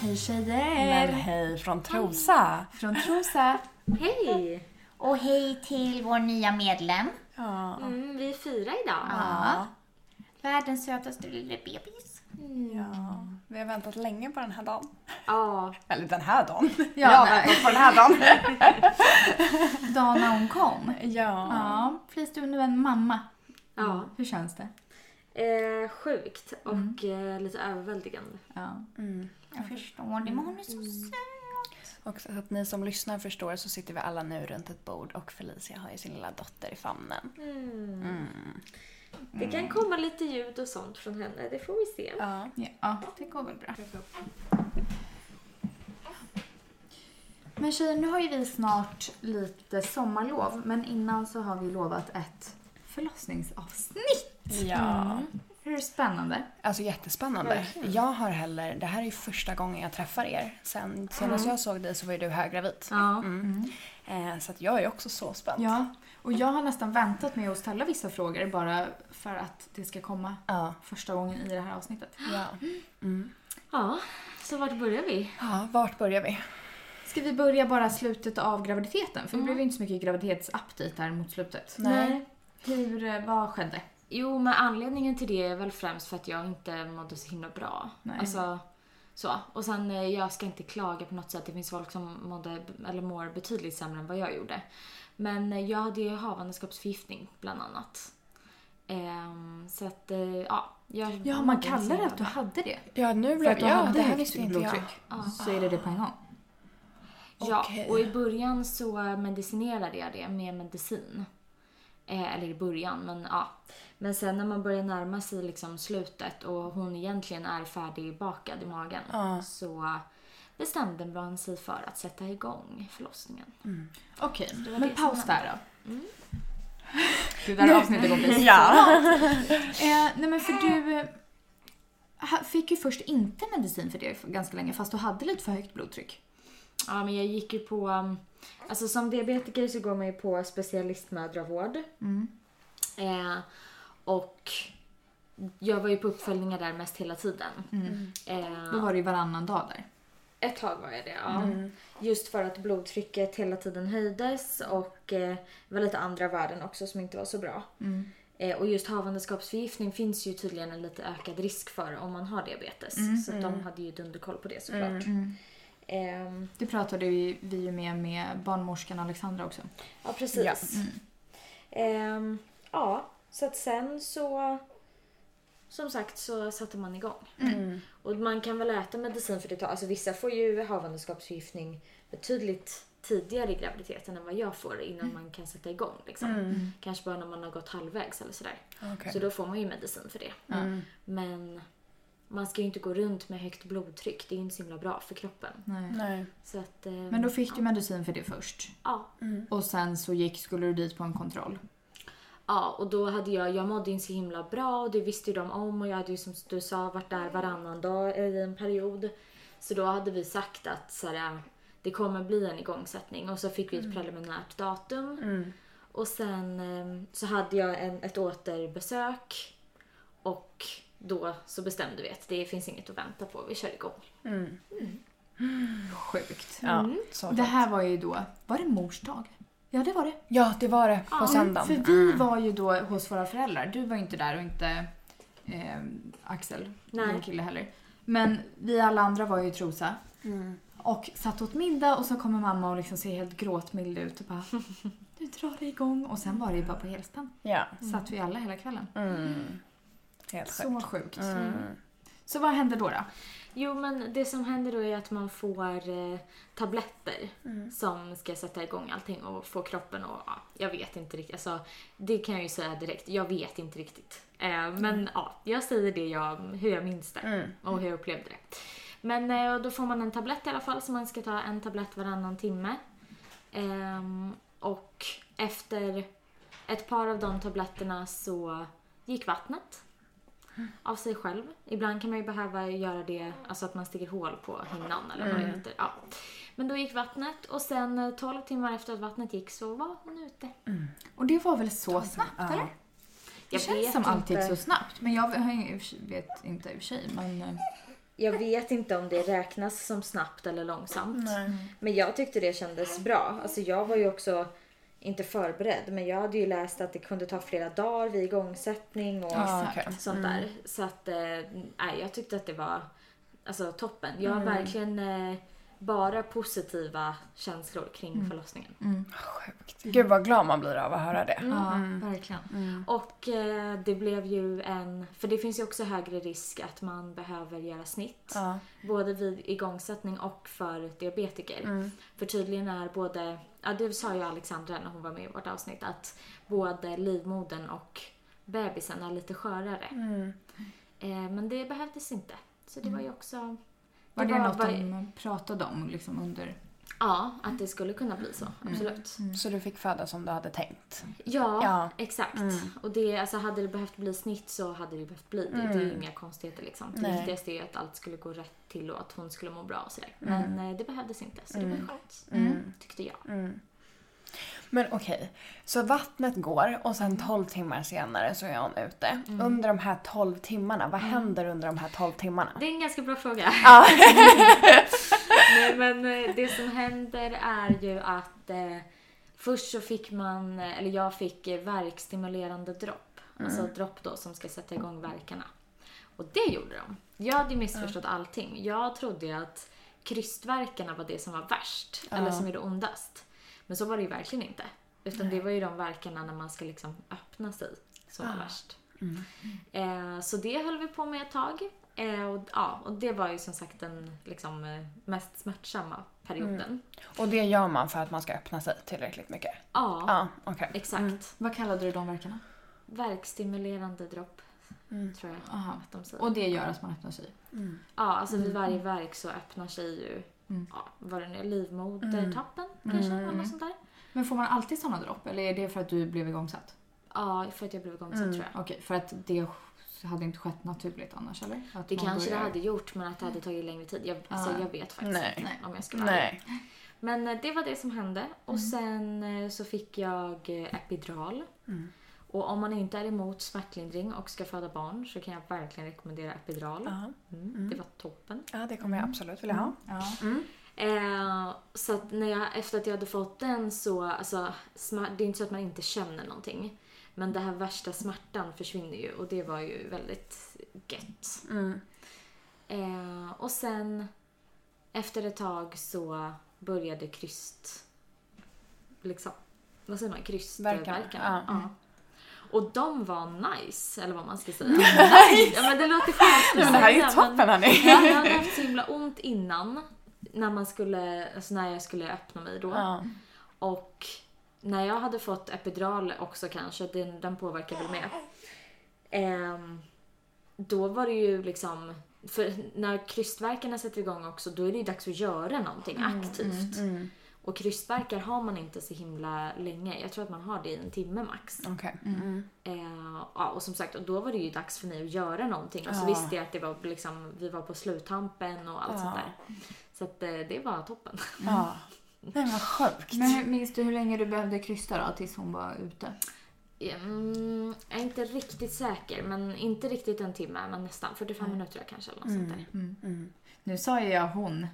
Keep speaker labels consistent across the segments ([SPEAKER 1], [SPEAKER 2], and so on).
[SPEAKER 1] Hej tjejer!
[SPEAKER 2] Men hej från Trosa!
[SPEAKER 1] Från Trosa.
[SPEAKER 3] Hej!
[SPEAKER 4] Och hej till vår nya medlem.
[SPEAKER 2] Ja.
[SPEAKER 3] Mm, vi är fyra idag.
[SPEAKER 4] Ja. Världens sötaste lilla bebis.
[SPEAKER 2] ja. Vi har väntat länge på den här dagen.
[SPEAKER 3] Ja,
[SPEAKER 2] Eller den här dagen.
[SPEAKER 1] Ja,
[SPEAKER 2] jag har
[SPEAKER 1] nej.
[SPEAKER 2] väntat på den här dagen.
[SPEAKER 1] Dagen när hon kom.
[SPEAKER 2] ja.
[SPEAKER 1] Ja, precis du är nu en mamma.
[SPEAKER 3] ja.
[SPEAKER 1] Hur känns det?
[SPEAKER 3] Eh, sjukt och eh, lite överväldigande.
[SPEAKER 1] Ja.
[SPEAKER 4] Jag förstår
[SPEAKER 1] Mm.
[SPEAKER 4] det, men hon är så söt.
[SPEAKER 2] Mm. Och så att ni som lyssnar förstår så sitter vi alla nu runt ett bord och Felicia har ju sin lilla dotter i famnen.
[SPEAKER 3] Mm. Det kan komma lite ljud och sånt från henne, det får vi se.
[SPEAKER 2] Ja.
[SPEAKER 1] ja, det går väl bra. Men tjejer, nu har ju vi snart lite sommarlov, men innan så har vi lovat ett förlossningsavsnitt.
[SPEAKER 2] ja.
[SPEAKER 1] Hur spännande?
[SPEAKER 2] Alltså jättespännande. Jag har heller, det här är ju första gången jag träffar er. Sen senast jag såg dig så var ju du höggravid.
[SPEAKER 1] Ja.
[SPEAKER 2] Mm. Eh, så att jag är också så spänd.
[SPEAKER 1] Ja, och jag har nästan väntat med att ställa vissa frågor bara för att det ska komma
[SPEAKER 2] Ja.
[SPEAKER 1] första gången i det här avsnittet.
[SPEAKER 2] Ja. Mm.
[SPEAKER 3] Ja, så vart börjar vi?
[SPEAKER 2] ja, vart börjar vi?
[SPEAKER 1] Ska vi börja bara slutet av graviditeten? För det blev ju inte så mycket graviditetsupdate här mot slutet.
[SPEAKER 2] Nej.
[SPEAKER 1] Hur, eh, vad skedde?
[SPEAKER 3] Jo, men anledningen till det är väl främst för att jag inte mådde så himla bra.
[SPEAKER 1] Nej.
[SPEAKER 3] Alltså, så. Och sen, eh, jag ska inte klaga på något sätt. Det finns folk som mådde, eller mår betydligt sämre än vad jag gjorde. Men eh, jag hade ju havandeskapsförgiftning, bland annat. Ehm, så att, eh, ja. Jag
[SPEAKER 1] Ja, man
[SPEAKER 3] mådde inte så
[SPEAKER 1] kallar det
[SPEAKER 3] himla
[SPEAKER 1] att du
[SPEAKER 3] bra.
[SPEAKER 1] hade det.
[SPEAKER 2] Ja, nu
[SPEAKER 1] För
[SPEAKER 2] blev
[SPEAKER 1] att du
[SPEAKER 2] ja,
[SPEAKER 1] hade
[SPEAKER 2] det här
[SPEAKER 1] högt
[SPEAKER 2] visste inte jag.
[SPEAKER 1] blodtryck. Så är det det på en gång.
[SPEAKER 3] Ja,
[SPEAKER 2] Okej.
[SPEAKER 3] och i början så medicinerade jag det med medicin. Eh, eller i början, men ja. Men sen när man börjar närma sig liksom slutet och hon egentligen är färdigbakad i magen
[SPEAKER 2] Ja.
[SPEAKER 3] så bestämde man sig för att sätta igång förlossningen.
[SPEAKER 1] Okej,
[SPEAKER 3] var
[SPEAKER 1] men
[SPEAKER 3] det som
[SPEAKER 1] paus där då. Det där avsnittet kommer bli så
[SPEAKER 2] Ja.
[SPEAKER 1] Eh, nej men för du eh, ha- fick ju först inte medicin för det för ganska länge fast du hade lite för högt blodtryck.
[SPEAKER 3] Ja, men jag gick ju på... um, Alltså som diabetiker så går man ju på specialistmödravård.
[SPEAKER 2] Mm.
[SPEAKER 3] Eh, och jag var ju på uppföljningar där mest hela tiden.
[SPEAKER 2] Mm.
[SPEAKER 3] Eh,
[SPEAKER 1] Då var det ju varannan dag där.
[SPEAKER 3] Ett tag var jag det, ja. Mm. Just för att blodtrycket hela tiden höjdes och eh, det var lite andra värden också som inte var så bra. Eh, och just havandeskapsförgiftning finns ju tydligen en lite ökad risk för om man har diabetes. Så att de hade ju dunderkoll på det såklart. Ehm,
[SPEAKER 1] Det pratade ju vi ju med, med barnmorskan Alexandra också.
[SPEAKER 3] ja, precis.
[SPEAKER 2] Ja.
[SPEAKER 3] Ehm, ja, så att sen så... Som sagt så satte man igång. Och man kan väl äta medicin för det tar... Alltså vissa får ju havandeskapsförgiftning betydligt tidigare i graviditeten än vad jag får innan man kan sätta igång. Liksom. Kanske bara när man har gått halvvägs eller sådär.
[SPEAKER 2] Okej.
[SPEAKER 3] Så då får man ju medicin för det. Men man ska ju inte gå runt med högt blodtryck. Det är ju inte så himla bra för kroppen.
[SPEAKER 1] Nej.
[SPEAKER 2] Nej.
[SPEAKER 3] Så att, eh,
[SPEAKER 1] Men då fick du medicin för det först.
[SPEAKER 3] ja.
[SPEAKER 1] Och sen så gick, skulle du dit på en kontroll.
[SPEAKER 3] Ja, och då hade jag, jag mådde inte så himla bra och det visste ju de om och jag hade ju som du sa varit där varannan dag i en period. Så då hade vi sagt att så här, det kommer bli en igångsättning och så fick vi ett preliminärt datum. Och sen eh, så hade jag en, ett återbesök och då så bestämde vi att det finns inget att vänta på, vi kör igång.
[SPEAKER 1] Sjukt.
[SPEAKER 2] Mm. Ja, så.
[SPEAKER 1] Det här var ju då, var det mors dag? Ja det var det.
[SPEAKER 2] ja, det var det på
[SPEAKER 1] För
[SPEAKER 2] söndagen.
[SPEAKER 1] vi var ju då hos våra föräldrar. Du var ju inte där och inte eh, Axel,
[SPEAKER 3] Nej.
[SPEAKER 1] min kille heller. Men vi alla andra var ju i Trosa. Och satt åt middag och så kommer mamma och liksom ser helt gråtmild ut och bara Nu drar det igång. Och sen var det ju bara på helspänn.
[SPEAKER 2] Ja,
[SPEAKER 1] Satt vi alla hela kvällen.
[SPEAKER 2] Mm. helt sjukt. Mm.
[SPEAKER 1] Så sjukt. Mm. Så vad hände då? då?
[SPEAKER 3] Jo, men det som händer då är att man får eh, tabletter
[SPEAKER 2] Mm.
[SPEAKER 3] som ska sätta igång allting och få kroppen och ja, jag vet inte riktigt. Alltså, det kan jag ju säga direkt, jag vet inte riktigt. Eh, men ja, jag säger det jag, hur jag minns det
[SPEAKER 2] Mm.
[SPEAKER 3] och hur jag upplevde det. Men eh, och då får man en tablett i alla fall, så man ska ta en tablett varannan timme. Ehm, och efter Ett par av de tabletterna så gick vattnet av sig själv. Ibland kan man ju behöva göra det, alltså att man sticker hål på hinnan eller
[SPEAKER 1] Mm.
[SPEAKER 3] vad det heter. Ja. Men då gick vattnet och sen eh, 12 timmar efter att vattnet gick så var hon ute.
[SPEAKER 1] Och det var väl så snabbt
[SPEAKER 2] Ja.
[SPEAKER 1] eller? Det
[SPEAKER 3] Jag
[SPEAKER 1] känns
[SPEAKER 3] vet
[SPEAKER 1] som allt gick
[SPEAKER 3] inte.
[SPEAKER 1] så snabbt. Men jag har ingen- i och för sig- vet inte i och för sig. Men eh,
[SPEAKER 3] Jag vet inte om det räknas som snabbt eller långsamt.
[SPEAKER 2] Mm.
[SPEAKER 3] Men jag tyckte det kändes bra. Alltså jag var ju också inte förberedd men jag hade ju läst att det kunde ta flera dagar vid igångsättning och
[SPEAKER 2] Ja,
[SPEAKER 1] exakt.
[SPEAKER 2] okej. Mm.
[SPEAKER 3] sånt där. Så att eh, nej, jag tyckte att det var alltså, toppen. Jag
[SPEAKER 2] Mm.
[SPEAKER 3] har verkligen eh, bara positiva känslor kring
[SPEAKER 2] Mm.
[SPEAKER 3] förlossningen.
[SPEAKER 2] Sjukt. Gud vad glad man blir av att höra det. Mm.
[SPEAKER 1] ja, verkligen.
[SPEAKER 3] Och eh, det blev ju en, för det finns ju också högre risk att man behöver göra snitt.
[SPEAKER 2] Ja.
[SPEAKER 3] Både vid igångsättning och för diabetiker. För tydligen är både, ja det sa ju Alexandra när hon var med i vårt avsnitt, att både livmodern och bebisen är lite skörare.
[SPEAKER 2] Mm.
[SPEAKER 3] Eh, men det behövdes inte. Så det var ju också...
[SPEAKER 1] Var det,
[SPEAKER 3] var-
[SPEAKER 1] något
[SPEAKER 3] var-
[SPEAKER 1] de pratade om liksom under...
[SPEAKER 3] Ja, att det skulle kunna bli så. Absolut.
[SPEAKER 2] Så du fick föda som du hade tänkt.
[SPEAKER 3] Ja,
[SPEAKER 2] Mm. Ja.
[SPEAKER 3] exakt. Och det, alltså, hade det behövt bli snitt så hade det behövt bli det. Det är ju inga konstigheter liksom. Det
[SPEAKER 2] Nej.
[SPEAKER 3] viktigaste är ju att allt skulle gå rätt till och att hon skulle må bra och sådär. Men eh, det behövdes inte, så det var skönt. Tyckte jag.
[SPEAKER 2] Men okej, så vattnet går och sen 12 timmar senare så är hon ute. Under de här 12 timmarna, vad händer under de här 12 timmarna?
[SPEAKER 3] Det är en ganska bra fråga.
[SPEAKER 2] Ja.
[SPEAKER 3] Nej, men eh, det som händer är ju att eh, först så fick man, eh, eller jag fick eh, värkstimulerande dropp. Alltså dropp då som ska sätta igång värkarna. Och det gjorde de. Jag hade ju missförstått allting. Jag trodde ju att krystvärkarna var det som var värst, eller som gjorde ondast. Men så var det ju verkligen inte. Utan det var ju de värkarna när man ska liksom öppna sig som var värst. Eh, så det höll vi på med ett tag. Eh, och, ja, och det var ju som sagt den liksom, eh, mest smärtsamma perioden.
[SPEAKER 2] Och det gör man för att man ska öppna sig tillräckligt mycket?
[SPEAKER 3] Ja,
[SPEAKER 2] Ja, okej.
[SPEAKER 3] exakt.
[SPEAKER 1] Vad kallade du de verkarna?
[SPEAKER 3] Värkstimulerande dropp, tror jag
[SPEAKER 1] Aha.
[SPEAKER 3] att de säger.
[SPEAKER 1] Och det gör att man öppnar sig?
[SPEAKER 2] Mm.
[SPEAKER 3] ja, alltså vid varje verk så öppnar sig ju ja, vad det nu är, livmodertappen kanske, eller något sånt där.
[SPEAKER 1] Men får man alltid sådana dropp? Eller är det för att du blev igångsatt?
[SPEAKER 3] Ja, för att jag blev igångsatt tror jag.
[SPEAKER 1] Okej, för att det hade inte skett naturligt annars eller? Att
[SPEAKER 3] Det
[SPEAKER 1] man
[SPEAKER 3] kanske det
[SPEAKER 1] börjar-
[SPEAKER 3] hade gjort, men att det hade tagit längre tid. Jag, alltså, jag vet faktiskt
[SPEAKER 2] Nej.
[SPEAKER 3] inte om jag ska vara ärlig.
[SPEAKER 2] Nej.
[SPEAKER 3] Men eh, det var det som hände. Och sen eh, så fick jag eh, epidural. Och om man inte är emot smärtlindring och ska föda barn så kan jag verkligen rekommendera epidural.
[SPEAKER 2] Ja.
[SPEAKER 3] Mm. Det var toppen.
[SPEAKER 2] ja, det kommer jag absolut vilja ha.
[SPEAKER 1] Ja.
[SPEAKER 3] Eh, så att när jag, efter att jag hade fått den så, alltså, smär, det är inte så att man inte känner någonting. Men den här värsta smärtan försvinner ju och det var ju väldigt gött.
[SPEAKER 2] Mm.
[SPEAKER 3] Eh, och sen efter ett tag så började kryst... Liksom, vad säger man? Krystverkarna.
[SPEAKER 2] Verkarna, ja. Mm.
[SPEAKER 3] Ja. Och de var nice, eller vad man ska säga. nice. Ja, men det låter sjukt
[SPEAKER 2] Men det här är ju toppen hörni!
[SPEAKER 3] Ja, jag hade haft så himla ont innan. När, man skulle, alltså när jag skulle öppna mig då.
[SPEAKER 2] Ja.
[SPEAKER 3] Och när jag hade fått epidural också kanske, den, den påverkar väl med. Ehm, då var det ju liksom, för när krystvärkarna sätter igång också då är det ju dags att göra någonting
[SPEAKER 2] Mm,
[SPEAKER 3] aktivt. Och krystvärkar har man inte så himla länge. Jag tror att man har det i en timme max.
[SPEAKER 2] Okej. Mm.
[SPEAKER 3] Eh, ja, och som sagt, och då var det ju dags för mig att göra någonting. Och så
[SPEAKER 2] Ja.
[SPEAKER 3] visste jag att det var liksom, vi var på sluttampen och allt
[SPEAKER 2] Ja.
[SPEAKER 3] sånt där. Så att, eh, det var toppen.
[SPEAKER 2] Ja. Nej vad sjukt.
[SPEAKER 1] Men hur- minns du hur länge du behövde krysta då tills hon var ute?
[SPEAKER 3] Mm, jag är inte riktigt säker, men inte riktigt en timme, men nästan 45 minuter kanske. Eller något sånt där.
[SPEAKER 1] Nu sa ju jag hon.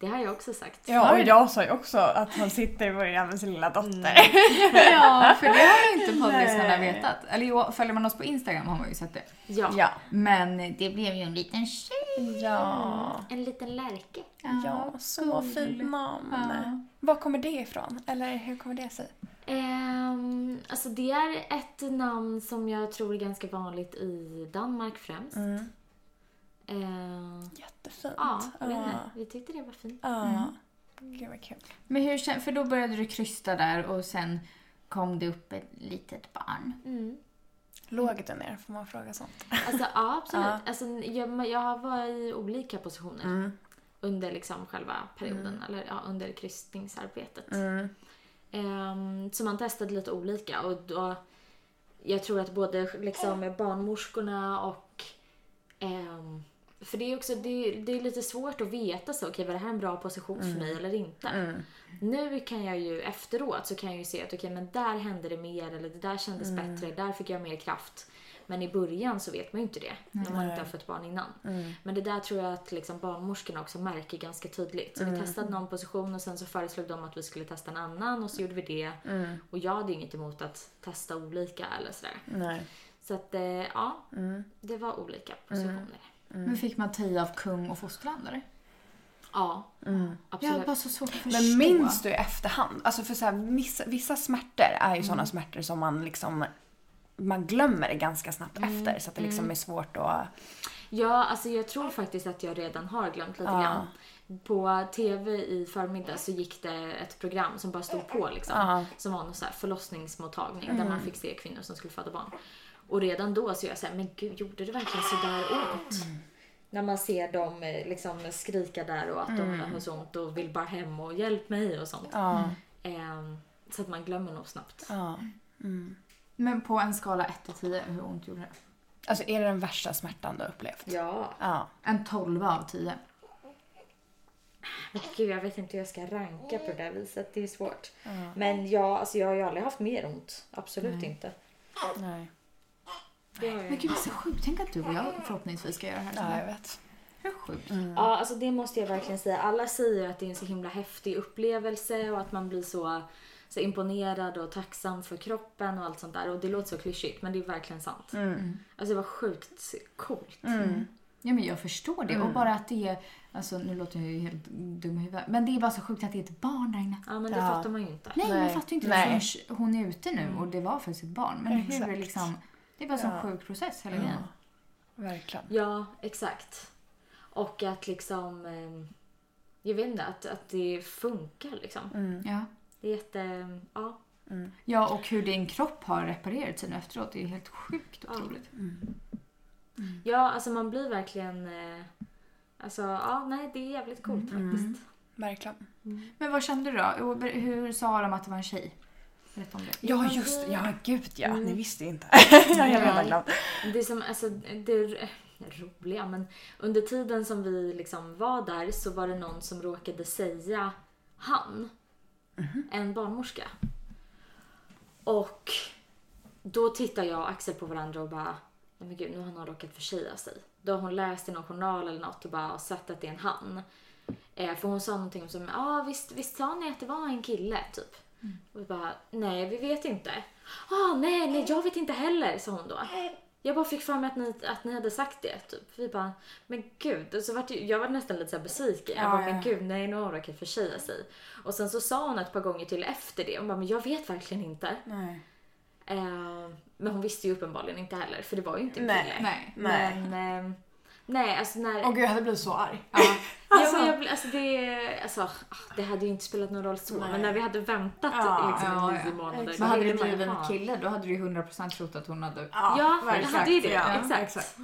[SPEAKER 3] Det har jag också sagt.
[SPEAKER 2] Ja, och jag sa ju också att hon sitter i början med sin lilla dotter.
[SPEAKER 3] Mm.
[SPEAKER 1] Ja, för det har ju inte poddlyssnarna
[SPEAKER 2] Nej.
[SPEAKER 1] vetat. Eller jo, följer man oss på Instagram har man ju sett det.
[SPEAKER 3] Ja.
[SPEAKER 2] Ja.
[SPEAKER 1] Men det blev ju en liten tjej.
[SPEAKER 2] Ja.
[SPEAKER 3] En liten lärke.
[SPEAKER 2] Ja, så fint namn. Var kommer det ifrån? Eller hur kommer det sig?
[SPEAKER 3] Ehm, alltså det är ett namn som jag tror är ganska vanligt i Danmark främst.
[SPEAKER 2] Mm.
[SPEAKER 3] Ehm,
[SPEAKER 2] Jättefint.
[SPEAKER 3] ja, jag vet inte.
[SPEAKER 2] Ja.
[SPEAKER 3] Vi tyckte det var fint.
[SPEAKER 2] Ja. Gud vad kul.
[SPEAKER 1] Men hur kän- för då började du krysta där och sen kom det upp ett litet barn.
[SPEAKER 3] Mm.
[SPEAKER 2] Låg du ner? Får man fråga sånt?
[SPEAKER 3] Alltså, ja, absolut. Alltså, jag, jag var i olika positioner
[SPEAKER 2] Mm.
[SPEAKER 3] under liksom själva perioden, eller ja, under kristningsarbetet. Ehm, så man testade lite olika och då, jag tror att både liksom barnmorskorna och ehm, för det är också det, är- det är lite svårt att veta så, okej var det här en bra position för mig eller inte? Nu kan jag ju efteråt så kan jag ju se att okej men där hände det mer eller det där kändes bättre, där fick jag mer kraft. Men i början så vet man ju inte det när man inte har fått barn innan. Men det där tror jag att liksom barnmorskorna också märker ganska tydligt. Så vi testade någon position och sen så föreslog de att vi skulle testa en annan och så gjorde vi det. Och jag hade inget emot att testa olika eller sådär.
[SPEAKER 2] Nej.
[SPEAKER 3] Så att eh, ja, det var olika positioner.
[SPEAKER 1] Men fick man töja av kung och fosterland
[SPEAKER 3] Ja,
[SPEAKER 1] Jag
[SPEAKER 3] absolut.
[SPEAKER 1] har bara så svårt att förstå.
[SPEAKER 2] Men minns du i efterhand? Alltså för så här, vissa, vissa smärtor är ju såna sådana smärtor som man liksom man glömmer det ganska snabbt efter så att det liksom är svårt att...
[SPEAKER 3] Ja, alltså jag tror faktiskt att jag redan har glömt lite grann. På TV i förmiddag så gick det ett program som bara stod på liksom.
[SPEAKER 2] Ja.
[SPEAKER 3] Som var någon så här förlossningsmottagning där man fick se kvinnor som skulle föda barn. Och redan då så är jag såhär, men gud gjorde det verkligen sådär ont? När man ser dem eh, liksom skrika där och att de har så ont och vill bara hem och hjälp mig och sånt.
[SPEAKER 2] Ja,
[SPEAKER 3] Ehm, så att man glömmer nog snabbt.
[SPEAKER 2] ja.
[SPEAKER 1] Men på en skala 1 till 10, hur ont gjorde det?
[SPEAKER 2] Alltså är det den värsta smärtan du har upplevt?
[SPEAKER 3] Ja.
[SPEAKER 2] Ja.
[SPEAKER 1] En 12 av 10.
[SPEAKER 3] Men Gud, jag vet inte hur jag ska ranka på det där viset. Det är svårt. Men jag, alltså, jag har ju aldrig haft mer ont. Absolut inte.
[SPEAKER 2] Nej.
[SPEAKER 3] Det har jag
[SPEAKER 1] Men
[SPEAKER 3] inte.
[SPEAKER 1] gud, det är så sjukt. Tänk att du och jag förhoppningsvis ska göra det här.
[SPEAKER 2] Ja, jag
[SPEAKER 1] tillsammans.
[SPEAKER 2] vet.
[SPEAKER 1] Hur sjukt?
[SPEAKER 3] Ja, alltså det måste jag verkligen säga. Alla säger att det är en så himla häftig upplevelse och att man blir så, så imponerad och tacksam för kroppen och allt sånt där. Och det låter så klyschigt, men det är verkligen sant.
[SPEAKER 1] Mm.
[SPEAKER 3] Alltså det var sjukt coolt.
[SPEAKER 1] Ja, men jag förstår det. Och bara att det är... Alltså, nu låter jag ju helt dum i huvudet. Men det är bara så sjukt att det är ett barn där inne.
[SPEAKER 3] Ja, men det
[SPEAKER 2] Ja.
[SPEAKER 3] fattar man ju inte.
[SPEAKER 1] Nej,
[SPEAKER 2] Nej.
[SPEAKER 1] jag fattar ju inte
[SPEAKER 2] Nej. Mm.
[SPEAKER 1] det förrän hon är ute nu och det var faktiskt ett barn. Men hur
[SPEAKER 2] Exakt.
[SPEAKER 1] är liksom... Det är bara en sån
[SPEAKER 2] Ja.
[SPEAKER 1] sjuk process hela grejen.
[SPEAKER 2] Verkligen.
[SPEAKER 3] Ja, exakt. Och att liksom... ehm, Jag vet inte, att, att det funkar liksom.
[SPEAKER 2] Mm.
[SPEAKER 1] Ja.
[SPEAKER 3] Det är jätte... Ja.
[SPEAKER 1] ja, och hur din kropp har reparerat sig nu efteråt. Det är helt sjukt
[SPEAKER 3] Ja.
[SPEAKER 1] otroligt.
[SPEAKER 3] Ja, alltså man blir verkligen... eh, Alltså, ja, nej, det är jävligt coolt faktiskt.
[SPEAKER 2] Verkligen.
[SPEAKER 1] Men vad kände du då? Och ber- Hur sa de att det var en tjej? Berätta om det.
[SPEAKER 2] Ja,
[SPEAKER 3] men
[SPEAKER 2] just Mm.
[SPEAKER 3] vi-
[SPEAKER 2] Ja, gud ja. Ni visste inte. jag är redan glad.
[SPEAKER 3] Det som, alltså, det är roliga, men under tiden som vi liksom var där så var det någon som råkade säga han. En barnmorska. Och då tittar jag och Axel på varandra och bara, nej men gud, nu har någon råkat försäga sig. Då har hon läst i någon journal eller något och bara sett att det är en han. Eh, för hon sa någonting som, ja ah, visst, visst sa ni att det var en kille, typ.
[SPEAKER 2] Mm.
[SPEAKER 3] Och vi bara, nej vi vet inte. Ah, nej, nej jag vet inte heller, sa hon då.
[SPEAKER 2] Eh.
[SPEAKER 3] Jag bara fick för mig att ni, att ni hade sagt det. Typ. Vi bara, men gud. Och så vart ju- jag var nästan lite så här besviken. Jag
[SPEAKER 2] Ja,
[SPEAKER 3] bara,
[SPEAKER 2] ja.
[SPEAKER 3] men gud, nej nu har hon råkat försäga sig. Och sen så sa hon ett par gånger till efter det. Hon bara, men jag vet verkligen inte.
[SPEAKER 2] Nej.
[SPEAKER 3] Eh, men hon visste ju uppenbarligen inte heller, för det var ju inte en
[SPEAKER 2] Nej.
[SPEAKER 3] kille.
[SPEAKER 1] Nej.
[SPEAKER 2] Nej.
[SPEAKER 3] Men, eh, nej, alltså när...
[SPEAKER 2] Åh gud, jag hade blivit så arg.
[SPEAKER 1] Ja.
[SPEAKER 3] ja, men jag, blir- alltså, det, alltså, ah, det hade ju inte spelat någon roll så,
[SPEAKER 2] Nej.
[SPEAKER 3] men när vi hade väntat
[SPEAKER 2] Ja,
[SPEAKER 3] liksom,
[SPEAKER 1] ja,
[SPEAKER 3] i
[SPEAKER 1] ja.
[SPEAKER 3] nio månader. då
[SPEAKER 1] Men hade det
[SPEAKER 3] ville man ju
[SPEAKER 1] blivit en
[SPEAKER 3] ha-
[SPEAKER 1] kille då hade du ju 100% trott att hon hade...
[SPEAKER 3] Ja, det
[SPEAKER 2] verkligen.
[SPEAKER 3] hade ju det.
[SPEAKER 2] Ja,
[SPEAKER 3] exakt.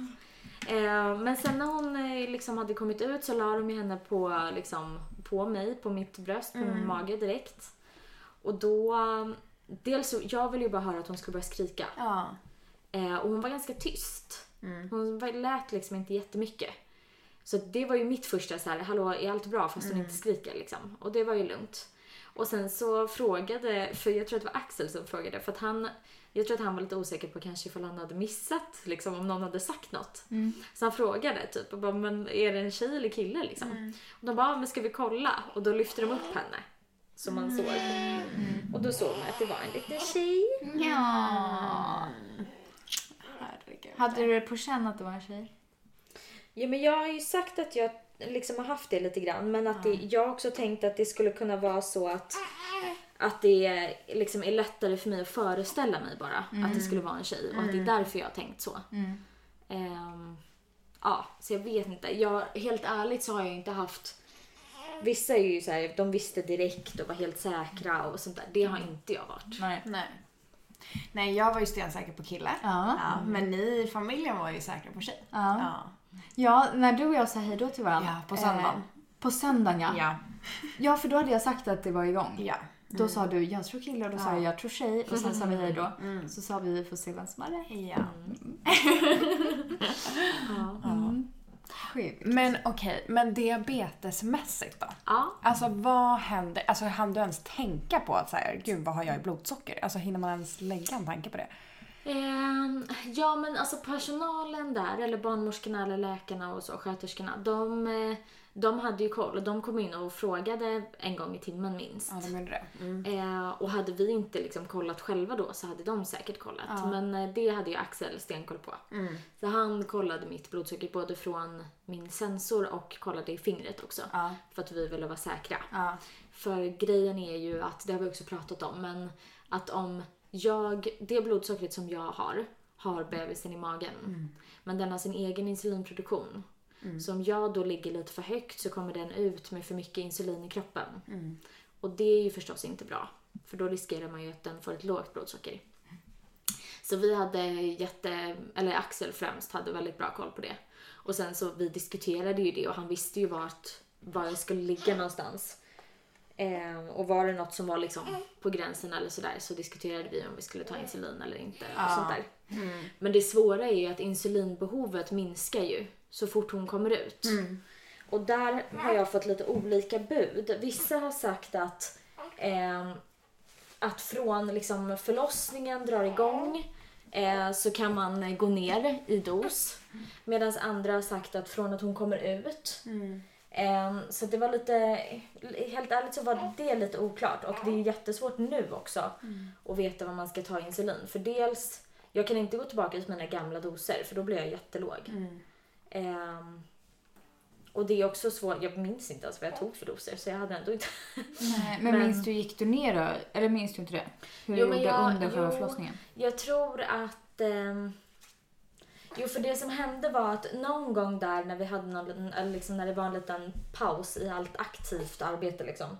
[SPEAKER 3] Eh, men sen när hon eh, liksom hade kommit ut så la de ju henne på, liksom, på mig, på mitt bröst, på min mage direkt. Och då... eh, Dels så, jag ville ju bara höra att hon skulle börja skrika.
[SPEAKER 2] Ja.
[SPEAKER 3] Eh, och hon var ganska tyst. Hon var- lät liksom inte jättemycket. Så det var ju mitt första så här, hallå är allt bra fast hon inte skriker liksom. Och det var ju lugnt. Och sen så frågade, för jag tror att det var Axel som frågade, för att han, jag tror att han var lite osäker på kanske ifall han hade missat liksom om någon hade sagt något. Så han frågade typ, och bara, men är det en tjej eller kille liksom? Och de bara, "Ja, men ska vi kolla? Och då lyfte de upp henne. Som man såg. Och då såg man att det var en liten tjej.
[SPEAKER 1] Ja. Hade du det på känn att det var en tjej?
[SPEAKER 3] Ja, men jag har ju sagt att jag liksom har haft det lite grann, men att det, jag har också tänkt att det skulle kunna vara så att, att det är- liksom är lättare för mig att föreställa mig bara att det skulle vara en tjej och att det är därför jag har tänkt så. Ehm, ja, så jag vet inte. Jag, helt ärligt så har jag inte haft... Vissa är ju så här, de visste direkt och var helt säkra och sånt där. Det har inte jag varit.
[SPEAKER 1] Nej.
[SPEAKER 2] Nej. Nej, jag var ju stensäker på kille.
[SPEAKER 1] Ja.
[SPEAKER 2] Ja, Mm. men ni i familjen var ju säkra på tjej.
[SPEAKER 1] Ja. Ja, när du och jag sa hej då till varandra.
[SPEAKER 2] Ja, på söndagen.
[SPEAKER 1] på söndagen ja.
[SPEAKER 2] Ja.
[SPEAKER 1] Ja, för då hade jag sagt att det var igång.
[SPEAKER 2] ja.
[SPEAKER 1] Då
[SPEAKER 3] Mm.
[SPEAKER 1] sa du jag tror kille och då sa jag jag tror tjej och sen sa vi hej då.
[SPEAKER 3] Mm.
[SPEAKER 1] Så sa vi vi får se vem som hade
[SPEAKER 2] Ja.
[SPEAKER 3] Ja.
[SPEAKER 1] mm. Sjukt.
[SPEAKER 2] Men okej, men diabetesmässigt då?
[SPEAKER 3] ja.
[SPEAKER 2] Alltså vad händer? Alltså hann du ens tänka på att så här, gud vad har jag i blodsocker? Alltså hinner man ens lägga en tanke på det?
[SPEAKER 3] Ehm, ja, men alltså personalen där, eller barnmorskorna eller läkarna och så, sköterskorna, de, eh, de hade ju koll. De kom in och frågade en gång i timmen minst.
[SPEAKER 2] Ja, de gjorde det. Mm.
[SPEAKER 3] Eh, och hade vi inte liksom kollat själva då så hade de säkert kollat. Men eh, det hade ju Axel stenkoll på.
[SPEAKER 2] Mm.
[SPEAKER 3] Så han kollade mitt blodsocker både från min sensor och kollade i fingret också.
[SPEAKER 2] Ja.
[SPEAKER 3] För att vi ville vara säkra.
[SPEAKER 2] Ja.
[SPEAKER 3] För grejen är ju att, det har vi också pratat om, men att om jag, det blodsockret som jag har, har bebisen i magen.
[SPEAKER 2] Mm.
[SPEAKER 3] Men den har sin egen insulinproduktion. Så om jag då ligger lite för högt så kommer den ut med för mycket insulin i kroppen.
[SPEAKER 2] Mm.
[SPEAKER 3] Och det är ju förstås inte bra. För då riskerar man ju att den får ett lågt blodsocker. Så vi hade jätte, eller Axel främst hade väldigt bra koll på det. Och sen så vi diskuterade ju det och han visste ju vart, var jag skulle ligga någonstans. Ehm, och var det något som var liksom på gränsen eller sådär så diskuterade vi om vi skulle ta insulin eller inte. Och sånt där. Men det svåra är ju att insulinbehovet minskar ju så fort hon kommer ut. Och där har jag fått lite olika bud. Vissa har sagt att, ehm, att från liksom förlossningen drar igång eh, så kan man eh, gå ner i dos. Medan andra har sagt att från att hon kommer ut Ehm, Så det var lite, helt ärligt så var det lite oklart och det är jättesvårt nu också att veta vad man ska ta insulin. För dels, jag kan inte gå tillbaka till mina gamla doser för då blir jag jättelåg. Ehm, och det är också svårt, jag minns inte ens vad jag tog för doser så jag hade ändå inte...
[SPEAKER 1] Nej, men,
[SPEAKER 3] Men-
[SPEAKER 1] minns du, gick du ner då? Eller minns du inte det? Hur
[SPEAKER 3] Jo,
[SPEAKER 1] du
[SPEAKER 3] men
[SPEAKER 1] gjorde
[SPEAKER 3] jag-
[SPEAKER 1] under själva
[SPEAKER 3] jo.
[SPEAKER 1] förlossningen?
[SPEAKER 3] Jag tror att... ehm, jo, för det som hände var att någon gång där när vi hade någon, liten- eller liksom när det var en liten paus i allt aktivt arbete liksom,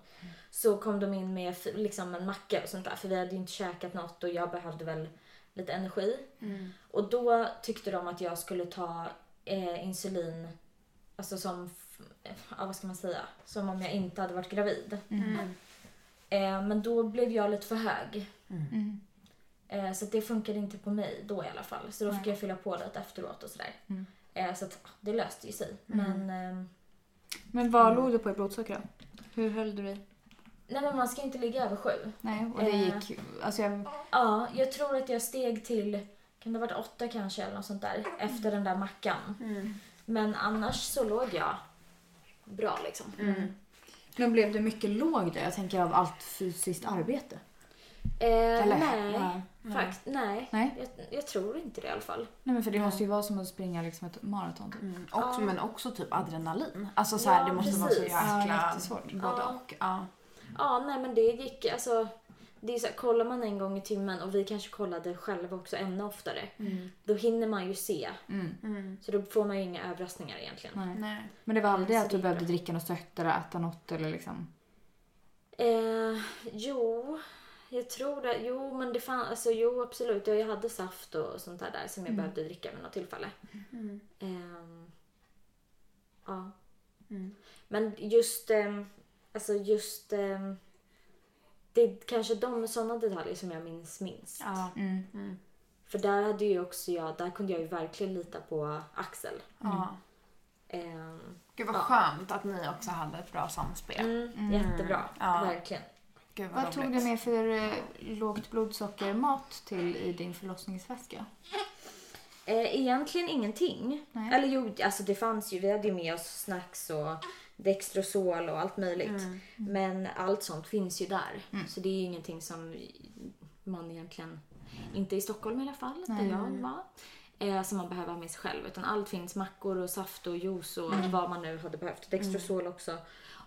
[SPEAKER 3] så kom de in med f- liksom en macka och sånt där för vi hade ju inte käkat något och jag behövde väl lite energi. Och då tyckte de att jag skulle ta eh, insulin, alltså som, f- ja, vad ska man säga, som om jag inte hade varit gravid.
[SPEAKER 1] Mm.
[SPEAKER 3] Eh, men då blev jag lite för hög. Eh, så att det funkade inte på mig då i alla fall. Så då fick jag fylla på lite efteråt och sådär.
[SPEAKER 1] Mm.
[SPEAKER 3] Eh, så att ah, det löste ju sig. Men, ehm,
[SPEAKER 1] Men
[SPEAKER 3] Mm.
[SPEAKER 1] vad låg du på i blodsocker då? Hur höll du dig?
[SPEAKER 3] nej men man ska inte ligga över sju.
[SPEAKER 1] Nej, och det
[SPEAKER 3] Eh.
[SPEAKER 1] gick... Alltså jag...
[SPEAKER 3] Ja, jag tror att jag steg till, kan det ha varit åtta kanske eller något sånt där, efter den där mackan.
[SPEAKER 1] Mm.
[SPEAKER 3] Men annars så låg jag bra liksom.
[SPEAKER 1] Mm. Men blev du mycket låg då? Jag tänker av allt fysiskt arbete.
[SPEAKER 3] Eh,
[SPEAKER 1] Eller?
[SPEAKER 3] nej,
[SPEAKER 1] Nej.
[SPEAKER 3] fakt, nej.
[SPEAKER 1] Nej.
[SPEAKER 3] Jag, jag tror inte det i alla fall.
[SPEAKER 1] Nej men för det måste ju vara som att springa liksom ett maraton typ.
[SPEAKER 2] Mm. Också, men också typ adrenalin. Alltså så här,
[SPEAKER 3] Ja,
[SPEAKER 2] det måste vara så
[SPEAKER 3] precis.
[SPEAKER 2] jäkla...
[SPEAKER 1] Ja, jättesvårt.
[SPEAKER 2] Både
[SPEAKER 3] Ja.
[SPEAKER 2] och. Ja.
[SPEAKER 3] Ja, nej men det gick, alltså det är så här, kollar man en gång i timmen och vi kanske kollade själva också ännu oftare. Då hinner man ju se. Så då får man ju inga överraskningar egentligen.
[SPEAKER 1] Nej.
[SPEAKER 2] Mm. Nej.
[SPEAKER 1] Men det var aldrig
[SPEAKER 3] Så
[SPEAKER 1] att du
[SPEAKER 3] det är
[SPEAKER 1] behövde
[SPEAKER 3] bra.
[SPEAKER 1] dricka något sötare, äta något eller liksom...
[SPEAKER 3] Eh, jo, jag tror det. Jo, men det fanns, alltså jo absolut. Jag hade saft och sånt där, där som jag behövde dricka vid något tillfälle.
[SPEAKER 2] Mm.
[SPEAKER 3] Ehm, ja.
[SPEAKER 2] Mm.
[SPEAKER 3] Men just, ehm, alltså just, ehm, det är kanske de sådana detaljer som jag minns minst.
[SPEAKER 2] Ja.
[SPEAKER 1] Mm.
[SPEAKER 3] För där hade ju också jag, där kunde jag ju verkligen lita på Axel.
[SPEAKER 2] ja.
[SPEAKER 3] Ehm,
[SPEAKER 2] Gud vad skönt att ni också hade ett bra samspel.
[SPEAKER 3] mm, Jättebra,
[SPEAKER 2] Ja.
[SPEAKER 3] verkligen.
[SPEAKER 2] Gud vad,
[SPEAKER 1] Vad tog
[SPEAKER 2] roligt.
[SPEAKER 1] du med för eh, lågt blodsockermat till i din förlossningsväska?
[SPEAKER 3] Eh, egentligen ingenting.
[SPEAKER 1] Nej.
[SPEAKER 3] Eller jo, alltså det fanns ju, vi hade ju med oss snacks och Dextrosol och allt möjligt. Men allt sånt finns ju där. Så det är ju ingenting som man egentligen, inte i Stockholm i alla fall, där jag var, eh, som man behöver ha med sig själv. Utan allt finns, mackor och saft och juice och vad man nu hade behövt. Dextrosol också.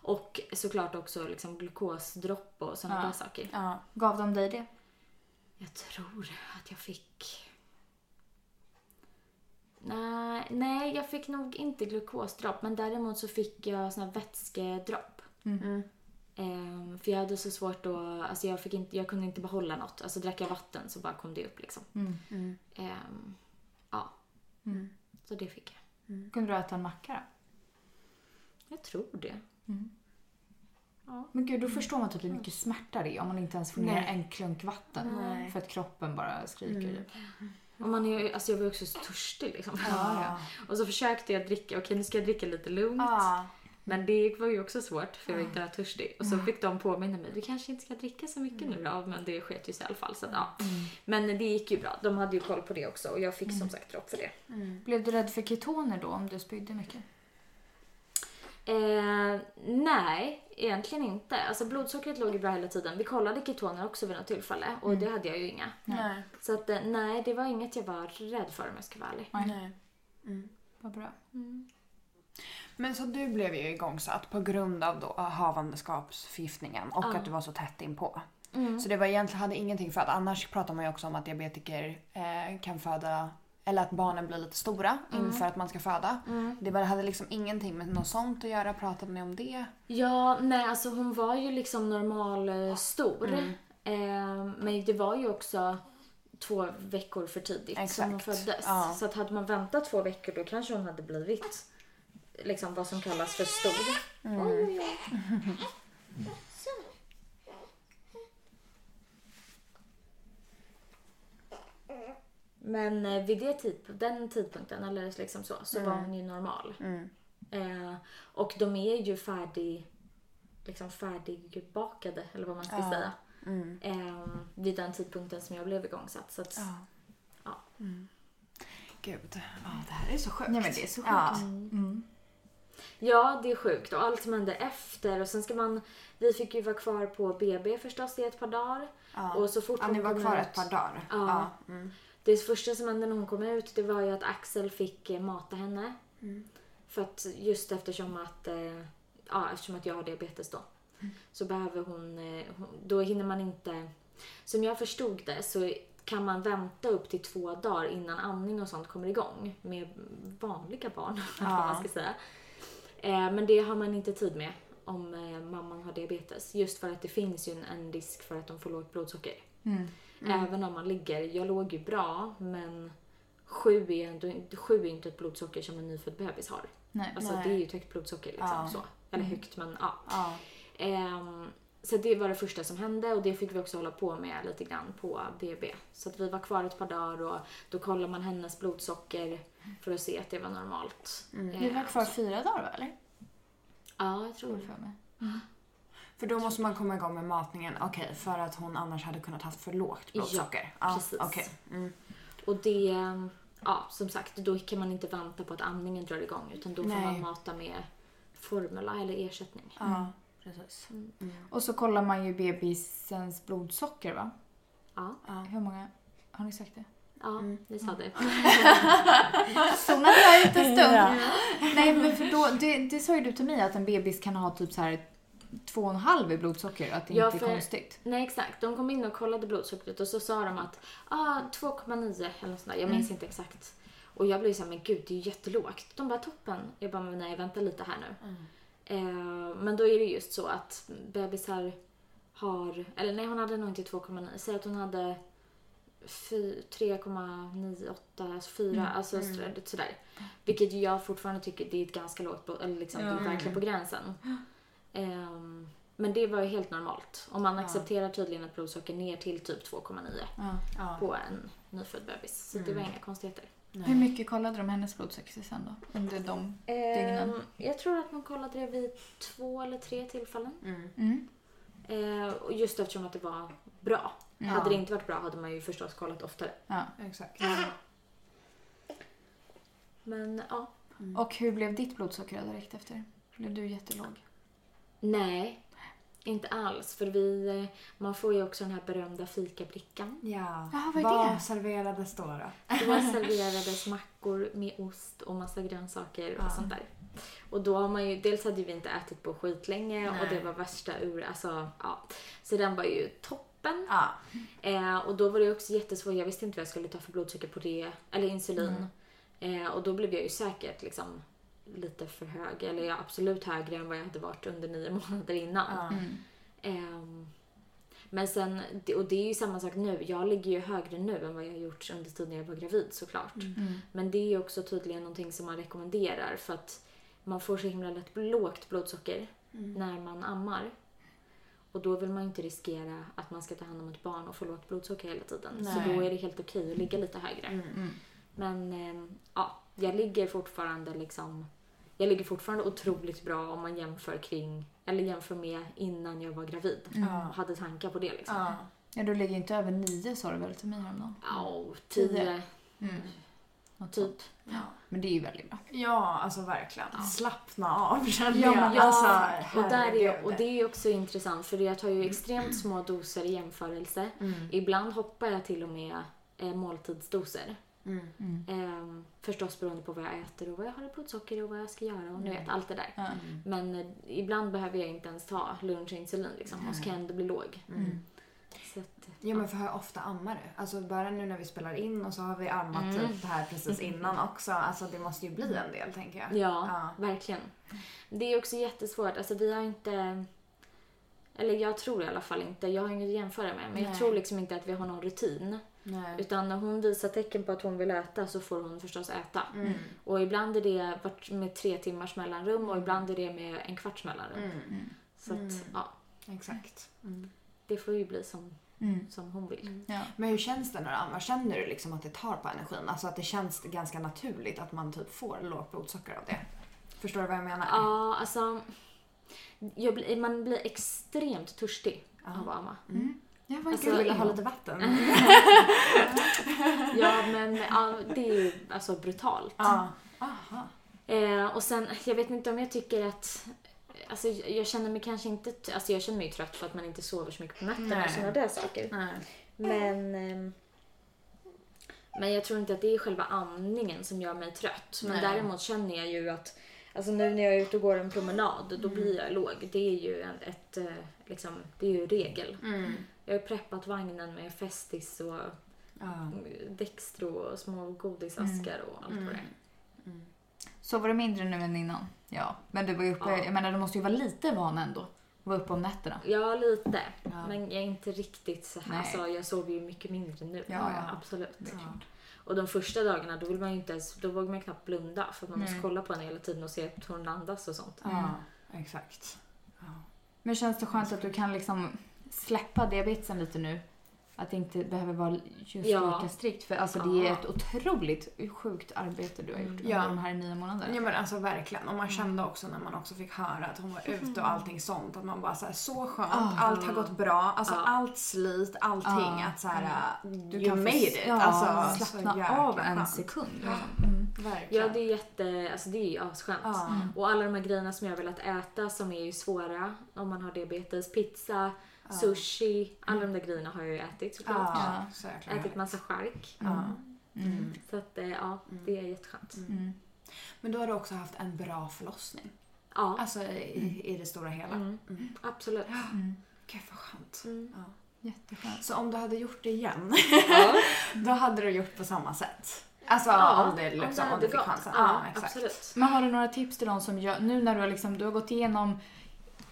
[SPEAKER 3] Och såklart också liksom glukosdropp och sådana där saker.
[SPEAKER 2] Ja.
[SPEAKER 1] Gav de dig det?
[SPEAKER 3] Jag tror att jag fick... Nej, nej, jag fick nog inte glukosdropp men däremot så fick jag såna här vätskedropp.
[SPEAKER 2] Mm.
[SPEAKER 3] Ehm, för jag hade så svårt att... Alltså jag, fick inte, jag kunde inte behålla något. Alltså drack jag vatten så bara kom det upp liksom.
[SPEAKER 1] Mm.
[SPEAKER 3] Ehm, ja. Så det fick jag.
[SPEAKER 1] Kunde du äta en macka då?
[SPEAKER 3] Jag tror det.
[SPEAKER 1] Men gud, då
[SPEAKER 2] Mm.
[SPEAKER 1] förstår man typ hur mycket smärta det är om man inte ens får ner en klunk vatten. För att kroppen bara skriker.
[SPEAKER 3] Och man är, ju- alltså jag var ju också så törstig liksom.
[SPEAKER 1] Ja.
[SPEAKER 3] Och så försökte jag dricka, okej nu ska jag dricka lite lugnt.
[SPEAKER 2] Ah,
[SPEAKER 1] Ja.
[SPEAKER 3] Men det var ju också svårt för jag var inte törstig. Och så fick de påminna mig, du kanske inte ska dricka så mycket nu då. Men det sket ju sig i alla fall. Så att, ja. Men det gick ju bra, de hade ju koll på det också och jag fick som sagt dropp för det.
[SPEAKER 1] Blev du rädd för ketoner då om du spydde mycket?
[SPEAKER 3] Eh, nej, egentligen inte. Alltså blodsockret låg ju bra hela tiden. Vi kollade ketoner också vid något tillfälle och det hade jag ju inga.
[SPEAKER 2] Nej.
[SPEAKER 3] Så att, eh, nej, det var inget jag var rädd för om jag ska vara ärlig.
[SPEAKER 2] Nej.
[SPEAKER 1] Vad bra.
[SPEAKER 2] Men så du blev ju igångsatt på grund av då eh, havandeskapsförgiftningen och att du var så tätt inpå. Så det var egentligen, hade ingenting för att annars pratar man ju också om att diabetiker eh, kan föda eller att barnen blir lite stora inför att man ska föda. Det var, hade liksom ingenting med något sånt att göra. Pratade ni om det?
[SPEAKER 3] Ja, nej alltså hon var ju liksom normal eh, stor.
[SPEAKER 2] Mm.
[SPEAKER 3] Eh, men det var ju också två veckor för tidigt som hon
[SPEAKER 2] Exakt,
[SPEAKER 3] föddes.
[SPEAKER 2] ja.
[SPEAKER 3] Så att hade man väntat två veckor då kanske hon hade blivit liksom vad som kallas för stor.
[SPEAKER 2] Mm.
[SPEAKER 3] Men eh, vid det tid, den tidpunkten, eller liksom så,
[SPEAKER 2] Mm.
[SPEAKER 3] så var hon ju normal. Eh, och de är ju färdig, liksom färdigbakade, eller vad man ska säga.
[SPEAKER 2] Mm.
[SPEAKER 3] Eh, vid den tidpunkten som jag blev igångsatt. Så att, ja.
[SPEAKER 2] Gud, ja, det här är så sjukt.
[SPEAKER 1] Nej men det är så sjukt.
[SPEAKER 2] Ja.
[SPEAKER 3] Ja, det är sjukt och allt som hände efter. Och sen ska man, vi fick ju vara kvar på BB förstås i ett par dagar. Och så fort
[SPEAKER 2] Ja, ni var
[SPEAKER 3] kom
[SPEAKER 2] kvar
[SPEAKER 3] ut-
[SPEAKER 2] ett par dagar. Mm.
[SPEAKER 3] Ja. Det första som hände när hon kom ut det var ju att Axel fick eh, mata henne. För att just eftersom att, eh, ja, eftersom att jag har diabetes då. Så behöver hon, eh, hon, då hinner man inte. Som jag förstod det så kan man vänta upp till två dagar innan amning och sånt kommer igång. Med vanliga barn, eller vad man ska säga. Eh, men det har man inte tid med om eh, mamman har diabetes. Just för att det finns ju en, en risk för att de får lågt blodsocker.
[SPEAKER 1] Mm.
[SPEAKER 3] Även om man ligger, jag låg ju bra men sju är, ändå, inte- sju är inte ett blodsocker som en nyfödd bebis har.
[SPEAKER 1] Nej.
[SPEAKER 3] Alltså
[SPEAKER 2] Nej.
[SPEAKER 3] det är ju ett högt blodsocker liksom.
[SPEAKER 2] Ja.
[SPEAKER 3] Så. Eller högt men ja.
[SPEAKER 2] Ja.
[SPEAKER 3] Ehm, så det var det första som hände och det fick vi också hålla på med lite grann på BB. Så att vi var kvar ett par dagar och då kollar man hennes blodsocker för att se att det var normalt.
[SPEAKER 1] Mm. Vi
[SPEAKER 3] Ehm,
[SPEAKER 1] var kvar fyra dagar va, eller?
[SPEAKER 3] Ja, jag tror
[SPEAKER 2] Mm.
[SPEAKER 1] Tror
[SPEAKER 3] det.
[SPEAKER 1] jag för mig.
[SPEAKER 2] För då måste man komma igång med matningen. Okej, för att hon annars hade kunnat haft för lågt blodsocker.
[SPEAKER 3] Ja, precis.
[SPEAKER 2] okej. Mm.
[SPEAKER 3] Och det, ja som sagt, då kan man inte vänta på att amningen drar igång utan då får
[SPEAKER 2] Nej.
[SPEAKER 3] man mata med formula eller ersättning.
[SPEAKER 2] Ja, precis.
[SPEAKER 1] Och så kollar man ju bebisens blodsocker va?
[SPEAKER 3] Ja,
[SPEAKER 1] Hur många? Har ni sagt det?
[SPEAKER 3] ja ni sa det.
[SPEAKER 1] zonade jag ut en stund.
[SPEAKER 2] Ja.
[SPEAKER 1] Nej, men för då, det, det sa ju du till mig att en bebis kan ha typ så här två och en halv i blodsocker och att det
[SPEAKER 3] Ja,
[SPEAKER 1] inte
[SPEAKER 3] för-
[SPEAKER 1] är konstigt.
[SPEAKER 3] Nej exakt, de kom in och kollade blodsockret och så sa de att ah, 2,9 eller något sånt där. jag minns inte exakt. Och jag blev såhär, men gud det är ju jättelågt. De bara toppen. Jag bara, men nej vänta lite här nu. Eh, men då är det just så att bebisar har, eller nej hon hade nog inte 2,9, säg att hon hade fy- 3,98, alltså 4, alltså sådär, sådär. Vilket jag fortfarande tycker det är ett ganska lågt, bo- eller liksom det är verkligen på gränsen. Ehm, men det var ju helt normalt. Och man accepterar tydligen ett blodsocker ner till typ 2,9
[SPEAKER 1] Ja.
[SPEAKER 3] på en nyfödd bebis. Så det var inga konstigheter.
[SPEAKER 1] Hur mycket kollade de hennes blodsocker sen då? Under de dygnen?
[SPEAKER 3] Ehm, jag tror att man kollade det vid två eller tre tillfällen.
[SPEAKER 1] Mm.
[SPEAKER 3] Ehm, och just eftersom att det var bra. Hade det inte varit bra hade man ju förstås kollat oftare.
[SPEAKER 1] Ja.
[SPEAKER 2] Exakt.
[SPEAKER 3] Men ja.
[SPEAKER 1] Och hur blev ditt blodsocker direkt efter? Blev du jättelåg?
[SPEAKER 3] Nej, inte alls. För vi, eh, man får ju också den här berömda fikabrickan.
[SPEAKER 2] Ja.
[SPEAKER 1] Jaha, vad är det?
[SPEAKER 2] serverades då? då?
[SPEAKER 3] Då serverades mackor med ost och massa grönsaker och sånt där. Och då har man ju, dels hade vi inte ätit på skitlänge och det var värsta ur, alltså ja. Så den var ju toppen.
[SPEAKER 2] Ja.
[SPEAKER 3] Eh, och då var det också jättesvårt, jag visste inte vad jag skulle ta för blodsocker på det, eller insulin. Eh, och då blev jag ju säkert liksom lite för hög, eller jag absolut högre än vad jag hade varit under nio månader innan. Ehm, men sen, och det är ju samma sak nu. Jag ligger ju högre nu än vad jag har gjort under tiden jag var gravid såklart. Men det är ju också tydligen någonting som man rekommenderar för att man får så himla lätt lågt blodsocker när man ammar. Och då vill man ju inte riskera att man ska ta hand om ett barn och få lågt blodsocker hela tiden. Så
[SPEAKER 2] Nej.
[SPEAKER 3] då är det helt okej att ligga lite högre.
[SPEAKER 2] Mm.
[SPEAKER 1] Mm.
[SPEAKER 3] Men ehm, ja, jag ligger fortfarande liksom jag ligger fortfarande otroligt bra om man jämför kring, eller jämför med innan jag var gravid. Och hade tankar på det liksom.
[SPEAKER 2] Ja.
[SPEAKER 1] Ja, du ligger inte över nio sa du väl till mig häromdagen? Mm.
[SPEAKER 3] Ja, och tio,
[SPEAKER 1] Något sånt.
[SPEAKER 3] typ.
[SPEAKER 1] Men det är ju väldigt bra.
[SPEAKER 2] Ja, alltså verkligen. Slappna av känner
[SPEAKER 1] Ja,
[SPEAKER 2] jag.
[SPEAKER 1] men
[SPEAKER 3] Ja,
[SPEAKER 2] alltså,
[SPEAKER 3] och, där är,
[SPEAKER 2] herregud.
[SPEAKER 3] och det är ju också intressant för jag tar ju extremt små doser i jämförelse.
[SPEAKER 2] Mm.
[SPEAKER 3] Ibland hoppar jag till och med eh, måltidsdoser.
[SPEAKER 2] Mm.
[SPEAKER 1] Mm.
[SPEAKER 3] Ehm, förstås beroende på vad jag äter och vad jag har i blodsocker och vad jag ska göra och ni vet allt det där. Men eh, ibland behöver jag inte ens ta lunchinsulin liksom och så kan jag ändå bli låg.
[SPEAKER 1] Mm.
[SPEAKER 3] Så att,
[SPEAKER 2] Ja Mm. men för hur ofta ammar du? Alltså bara nu när vi spelar in och så har vi ammat typ här precis innan också. Alltså det måste ju bli en del tänker jag.
[SPEAKER 3] Ja,
[SPEAKER 2] Ja.
[SPEAKER 3] verkligen. Det är också jättesvårt. Alltså vi har inte... Eller jag tror i alla fall inte, jag har inget att jämföra med, men jag
[SPEAKER 2] Nej.
[SPEAKER 3] tror liksom inte att vi har någon rutin.
[SPEAKER 2] Nej.
[SPEAKER 3] Utan när hon visar tecken på att hon vill äta så får hon förstås äta.
[SPEAKER 2] Mm.
[SPEAKER 3] Och ibland är det vart- med tre timmars mellanrum
[SPEAKER 2] Mm.
[SPEAKER 3] och ibland är det med en kvarts mellanrum. Så att, ja,
[SPEAKER 2] Exakt.
[SPEAKER 3] det får ju bli som,
[SPEAKER 1] Mm.
[SPEAKER 3] som hon vill.
[SPEAKER 1] Ja.
[SPEAKER 2] Men hur känns det när du ammar? Känner du liksom att det tar på energin? Alltså att det känns ganska naturligt att man typ får lågt blodsocker av det? Förstår du vad jag menar?
[SPEAKER 3] Ja, alltså... Jag blir, man blir extremt törstig av att amma.
[SPEAKER 1] Mm.
[SPEAKER 2] Mm. Jag var
[SPEAKER 3] Alltså,
[SPEAKER 2] gud, vill du ha
[SPEAKER 3] ja. Mm.
[SPEAKER 2] lite vatten?
[SPEAKER 3] Ja, men ja, det är ju alltså brutalt.
[SPEAKER 2] Ja.
[SPEAKER 3] Eh, och sen, jag vet inte om jag tycker att... Alltså jag jag känner mig kanske inte... t- Alltså jag känner mig ju trött för att man inte sover så mycket på nätterna och
[SPEAKER 2] Nej.
[SPEAKER 3] sådana där saker.
[SPEAKER 2] Nej.
[SPEAKER 3] Men... ehm, men jag tror inte att det är själva amningen som gör mig trött. Men däremot känner jag ju att... Alltså nu när jag är ute och går en promenad, då blir jag låg. Det är ju en, ett, eh, liksom, det är ju regel. Jag har ju preppat vagnen med Festis och
[SPEAKER 2] Ja. Mm.
[SPEAKER 3] Dextro och små godisaskar och allt
[SPEAKER 1] Mm.
[SPEAKER 3] vad det är.
[SPEAKER 1] Sover du mindre nu än innan? Ja. Men du var ju uppe,
[SPEAKER 3] Ja.
[SPEAKER 1] jag menar du måste ju vara lite van ändå. Att vara uppe om nätterna.
[SPEAKER 3] Ja, lite. Men jag är inte riktigt så här.
[SPEAKER 1] Nej.
[SPEAKER 3] Alltså, jag sover ju mycket mindre nu.
[SPEAKER 1] Ja, ja.
[SPEAKER 3] Absolut. Och de första dagarna då vill man ju inte ens, då vågar man ju knappt blunda för att man måste kolla på henne hela tiden och se att hon andas och sånt.
[SPEAKER 2] Ja,
[SPEAKER 3] Mm.
[SPEAKER 2] exakt.
[SPEAKER 1] Men känns det skönt att du kan liksom släppa diabetesen lite nu? Att det inte behöver vara just
[SPEAKER 3] Ja.
[SPEAKER 1] lika strikt. För alltså det är
[SPEAKER 3] Ja.
[SPEAKER 1] ett otroligt sjukt arbete du har gjort under
[SPEAKER 2] Ja.
[SPEAKER 1] de här nio månaderna.
[SPEAKER 2] Ja men alltså verkligen. Och man kände också när man också fick höra att hon var ute och allting sånt. Att man bara såhär, så skönt. Allt har gått bra. Alltså allt slit, allting. Att såhär, du you
[SPEAKER 1] få
[SPEAKER 2] made
[SPEAKER 1] s-
[SPEAKER 2] it.
[SPEAKER 1] Ja,
[SPEAKER 2] alltså, så
[SPEAKER 1] slappna
[SPEAKER 2] jäkla
[SPEAKER 1] av en
[SPEAKER 2] skönt.
[SPEAKER 1] sekund. liksom.
[SPEAKER 2] Verkligen. Ah.
[SPEAKER 3] Ja, det är jätte, alltså det är ju asskönt.
[SPEAKER 2] Ja.
[SPEAKER 3] Och alla de här grejerna som jag har velat äta som är ju svåra om man har diabetes. Pizza, sushi, alla de där grejerna har jag ju ätit såklart.
[SPEAKER 2] Mm. Ja, Ah, Mm. så jäkla
[SPEAKER 3] Ätit
[SPEAKER 2] härligt. Ah.
[SPEAKER 3] massa chark.
[SPEAKER 2] ja.
[SPEAKER 1] Mm.
[SPEAKER 3] Så att eh, ja,
[SPEAKER 2] Mm.
[SPEAKER 3] det är jätteskönt.
[SPEAKER 2] Men då har du också haft en bra förlossning.
[SPEAKER 3] Ja,
[SPEAKER 2] Alltså i, i det stora hela.
[SPEAKER 3] Mm.
[SPEAKER 2] Mm.
[SPEAKER 3] absolut. Mm.
[SPEAKER 2] Gud vad skönt. Ja.
[SPEAKER 1] Jätteskönt.
[SPEAKER 2] Så om du hade gjort det igen,
[SPEAKER 3] Ja.
[SPEAKER 2] då hade du gjort på samma sätt? Alltså om det liksom, om,
[SPEAKER 3] hade
[SPEAKER 2] du fick
[SPEAKER 3] gått.
[SPEAKER 2] chansen.
[SPEAKER 3] Ja,
[SPEAKER 2] Ja, exakt.
[SPEAKER 3] absolut.
[SPEAKER 1] Men har du några tips till de som gör, nu när du har, liksom, du har gått igenom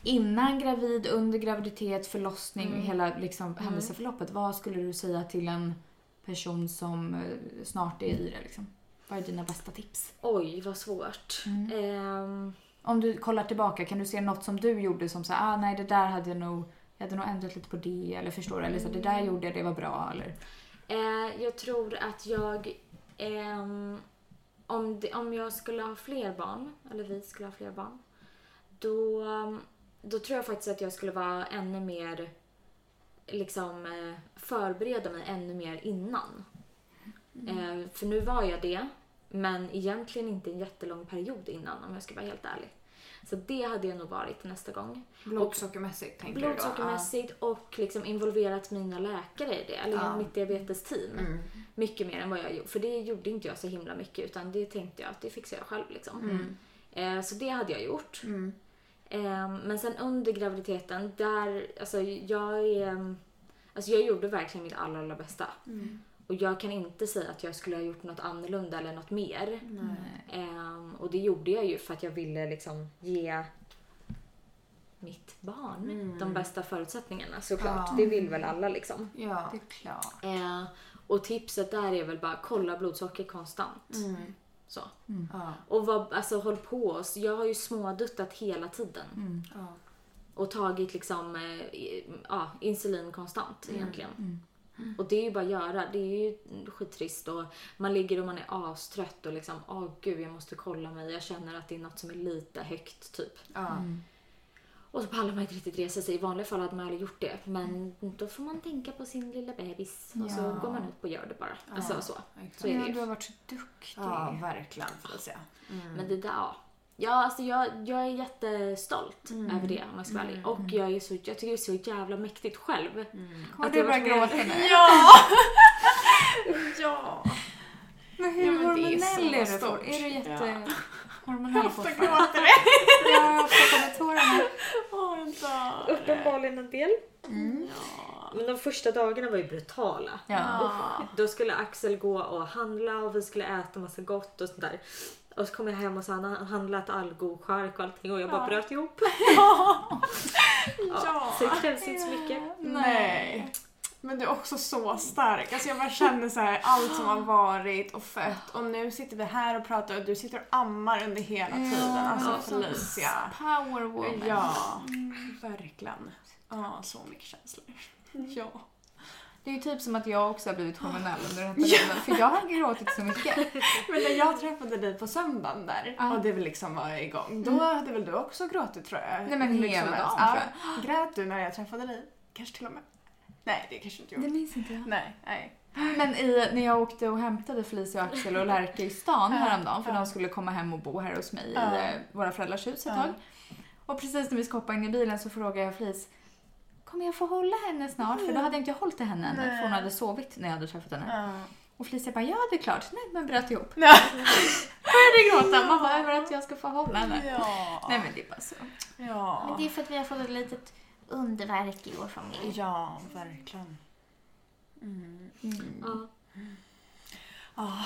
[SPEAKER 1] innan gravid, under graviditet, förlossning,
[SPEAKER 2] Mm.
[SPEAKER 1] hela liksom, händelseförloppet. Vad skulle du säga till en person som eh, snart är i det? Liksom? Vad är dina bästa tips?
[SPEAKER 3] Oj, vad svårt.
[SPEAKER 2] Mm.
[SPEAKER 3] Ehm,
[SPEAKER 1] Om du kollar tillbaka, kan du se något som du gjorde som så här, ah, nej det där hade jag nog, jag hade nog ändrat lite på det eller förstår du? Eller så, här, det
[SPEAKER 2] Mm.
[SPEAKER 1] där gjorde jag, det var bra eller?
[SPEAKER 3] eh, jag tror att jag... ehm, om, det, om jag skulle ha fler barn, eller vi skulle ha fler barn, då, då tror jag faktiskt att jag skulle vara ännu mer... Liksom eh, förbereda mig ännu mer innan. Eh, för nu var jag det, men egentligen inte en jättelång period innan om jag ska vara helt ärlig. Så det hade jag nog varit nästa gång.
[SPEAKER 2] Blodsockermässigt tänker
[SPEAKER 3] Blodsockermässigt och liksom involverat mina läkare i det, eller mitt diabetesteam. Mycket mer än vad jag gjorde, för det gjorde inte jag så himla mycket utan det tänkte jag att det fixar jag själv. Liksom. Eh, så det hade jag gjort. Eh, men sen under graviditeten, där, alltså jag är, alltså jag gjorde verkligen mitt allra, allra bästa. Och jag kan inte säga att jag skulle ha gjort något annorlunda eller något mer. Ehm, och det gjorde jag ju för att jag ville liksom ge mitt barn de bästa förutsättningarna såklart. Det vill väl alla liksom.
[SPEAKER 2] Ja. ja.
[SPEAKER 1] Det är klart.
[SPEAKER 3] Eh, och tipset där är väl bara kolla blodsocker konstant. Så.
[SPEAKER 2] Ja.
[SPEAKER 3] Och vad, alltså, håll på. oss. Jag har ju småduttat hela tiden.
[SPEAKER 2] Ja.
[SPEAKER 3] och tagit liksom, eh, i- ja, insulin konstant egentligen. Och det är ju bara att göra. Det är ju skittrist och man ligger och man är astrött och liksom, åh gud jag måste kolla mig. Jag känner att det är något som är lite högt typ.
[SPEAKER 2] Ja.
[SPEAKER 5] Mm.
[SPEAKER 3] Och så pallar man inte riktigt resa sig. I vanliga fall hade man aldrig gjort det. Men då får man tänka på sin lilla bebis. Och så
[SPEAKER 2] Ja. Mm.
[SPEAKER 3] går man ut och gör det bara. Alltså så.
[SPEAKER 2] exakt.
[SPEAKER 3] Så är det
[SPEAKER 1] Ja, du
[SPEAKER 3] ju.
[SPEAKER 1] har varit så duktig.
[SPEAKER 2] Ja, verkligen Felicia.
[SPEAKER 3] Men det där, ja. Ja, alltså jag, jag är jättestolt över det om jag ska vara ärlig. Och jag, är så, jag tycker det är så jävla mäktigt själv.
[SPEAKER 1] Kommer
[SPEAKER 3] Att
[SPEAKER 1] du
[SPEAKER 3] jag
[SPEAKER 1] börja
[SPEAKER 3] var tvungen-
[SPEAKER 1] gråta nu?
[SPEAKER 2] Ja!
[SPEAKER 1] Men
[SPEAKER 2] Ja,
[SPEAKER 1] hur
[SPEAKER 2] men det är
[SPEAKER 1] hormonell
[SPEAKER 2] så
[SPEAKER 1] är du?
[SPEAKER 2] stort.
[SPEAKER 1] for- Är du jätte...
[SPEAKER 2] Ja.
[SPEAKER 1] Hormonell fortfarande? Jag har också kommit tårarna.
[SPEAKER 2] Åh, jag dör.
[SPEAKER 3] Uppenbarligen en del.
[SPEAKER 2] Ja.
[SPEAKER 3] Men de första dagarna var ju brutala.
[SPEAKER 1] Ja.
[SPEAKER 3] Då skulle Axel gå och handla och vi skulle äta massa gott och sånt där. Och så kom jag hem och så hade han handlat all god chark och allting och jag bara bröt ihop.
[SPEAKER 2] Ja.
[SPEAKER 3] Så det krävs inte så mycket.
[SPEAKER 2] Nej.
[SPEAKER 5] Men du är också så stark. Alltså jag bara känner så här allt som har varit och fött och nu sitter vi här och pratar och du sitter och ammar under hela tiden. Alltså Felicia.
[SPEAKER 1] Power woman.
[SPEAKER 5] Ja,
[SPEAKER 2] Mm.
[SPEAKER 5] verkligen. Ja, så mycket känslor. Ja.
[SPEAKER 1] Det är ju typ som att jag också har blivit hormonell under den här perioden. För jag har gråtit så mycket.
[SPEAKER 5] Men när jag träffade dig på söndagen där
[SPEAKER 1] Ja. Mm.
[SPEAKER 5] och det väl liksom var igång, då hade väl du också gråtit tror jag?
[SPEAKER 1] Nej, men
[SPEAKER 5] liksom
[SPEAKER 1] hela dagen,
[SPEAKER 5] ja.
[SPEAKER 1] tror
[SPEAKER 5] Grät du när jag träffade dig? Kanske till och med? Nej, det kanske inte gjorde.
[SPEAKER 1] minns inte jag.
[SPEAKER 5] Nej, nej.
[SPEAKER 1] Men i, när jag åkte och hämtade Felicia och Axel och Lärke i stan
[SPEAKER 5] Ja,
[SPEAKER 1] häromdagen för
[SPEAKER 5] ja.
[SPEAKER 1] de skulle komma hem och bo här hos mig
[SPEAKER 5] Ja.
[SPEAKER 1] i eh, våra föräldrars hus ett
[SPEAKER 5] Ja.
[SPEAKER 1] tag. Och precis när vi ska hoppa in i bilen så frågar jag Felice Kommer jag få hålla henne snart?
[SPEAKER 5] Mm.
[SPEAKER 1] För då hade jag inte hållit i henne ännu för hon hade sovit när jag hade träffat henne.
[SPEAKER 5] Ja.
[SPEAKER 1] Och Felicia bara ja det är klart. Nej men bröt ihop.
[SPEAKER 5] Ja.
[SPEAKER 1] Började gråta. Man bara över att jag ska få hålla henne.
[SPEAKER 5] Ja.
[SPEAKER 1] Nej men det är bara så.
[SPEAKER 5] Ja.
[SPEAKER 4] Men det är för att vi har fått ett litet underverk i vår familj.
[SPEAKER 5] Ja, verkligen.
[SPEAKER 3] Ja.
[SPEAKER 5] Ja.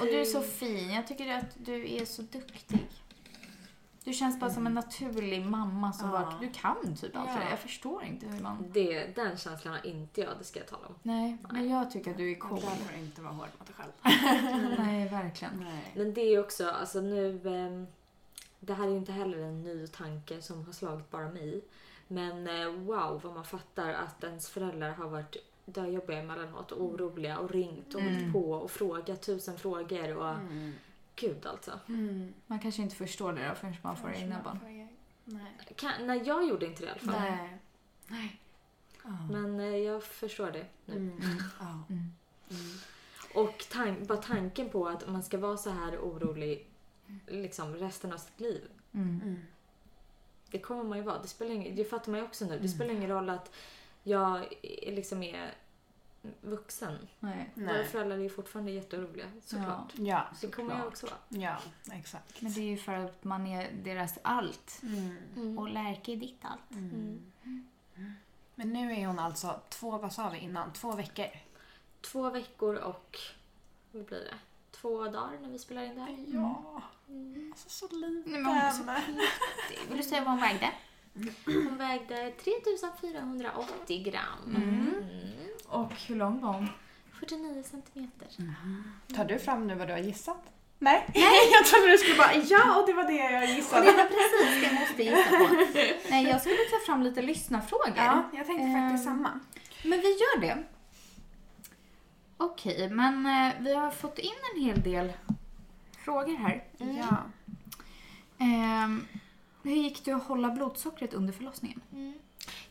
[SPEAKER 4] Och du är så fin. Jag tycker att du är så duktig.
[SPEAKER 1] Du känns bara som en naturlig mamma som
[SPEAKER 5] Ja.
[SPEAKER 1] bara, du kan typ allt det där.
[SPEAKER 5] Ja.
[SPEAKER 1] Jag förstår inte hur man...
[SPEAKER 3] Det, den känslan har inte jag, det ska jag tala om.
[SPEAKER 1] Nej, men jag tycker att du är
[SPEAKER 5] Cool.
[SPEAKER 1] cool.
[SPEAKER 5] Jag behöver inte vara hård mot dig själv.
[SPEAKER 1] Nej, verkligen.
[SPEAKER 5] Nej.
[SPEAKER 3] Men det är också, alltså nu... ehm, Det här är ju inte heller en ny tanke som har slagit bara mig. Men eh, wow vad man fattar att ens föräldrar har varit döjobbiga emellanåt och oroliga och ringt och hållit på och frågat tusen frågor och
[SPEAKER 2] Mm.
[SPEAKER 3] gud alltså.
[SPEAKER 5] Mm.
[SPEAKER 1] Man kanske inte förstår det då förrän man får egna barn.
[SPEAKER 5] Nej.
[SPEAKER 3] Kan, nej, jag gjorde inte det i alla fall.
[SPEAKER 5] Nej.
[SPEAKER 3] Men eh, jag förstår det nu.
[SPEAKER 2] Mm.
[SPEAKER 1] Mm.
[SPEAKER 5] Ja. Mm.
[SPEAKER 3] Och tan- bara tanken på att man ska vara så här orolig liksom resten av sitt liv.
[SPEAKER 1] Mm.
[SPEAKER 5] Mm.
[SPEAKER 3] Det kommer man ju vara. Det, spelar ingen, det fattar man ju också nu. Det spelar ingen roll att jag är- liksom är vuxen.
[SPEAKER 1] Nej.
[SPEAKER 3] Våra
[SPEAKER 5] Nej.
[SPEAKER 3] föräldrar är ju fortfarande jätteoroliga såklart.
[SPEAKER 5] Ja.
[SPEAKER 3] Det kommer jag också vara.
[SPEAKER 5] Ja, exakt.
[SPEAKER 1] Men det är ju för att man är deras allt.
[SPEAKER 3] Mm.
[SPEAKER 4] Och Lärke är ditt allt.
[SPEAKER 2] Men nu är hon alltså två, vad sa vi innan? Två veckor?
[SPEAKER 3] Två veckor och vad blir det? Två dagar när vi spelar in det här.
[SPEAKER 5] Ja.
[SPEAKER 2] Mm.
[SPEAKER 5] Alltså så liten.
[SPEAKER 1] men hon är
[SPEAKER 4] Vill du säga vad hon vägde?
[SPEAKER 3] Hon vägde 3480 gram. Mm.
[SPEAKER 1] Och hur lång var hon?
[SPEAKER 3] 49 centimeter.
[SPEAKER 2] Tar du fram nu vad du har gissat?
[SPEAKER 5] Nej. Nej, jag trodde du skulle bara ja och det var det jag gissade.
[SPEAKER 4] Precis det måste jag gissa på.
[SPEAKER 1] Nej, jag skulle ta fram lite lyssnarfrågor.
[SPEAKER 5] Ja, jag tänkte faktiskt
[SPEAKER 1] Ehm.
[SPEAKER 5] samma.
[SPEAKER 1] Men vi gör det. Okej, men eh, vi har fått in en hel del frågor här.
[SPEAKER 5] Ja.
[SPEAKER 1] Ehm, hur gick det att hålla blodsockret under förlossningen?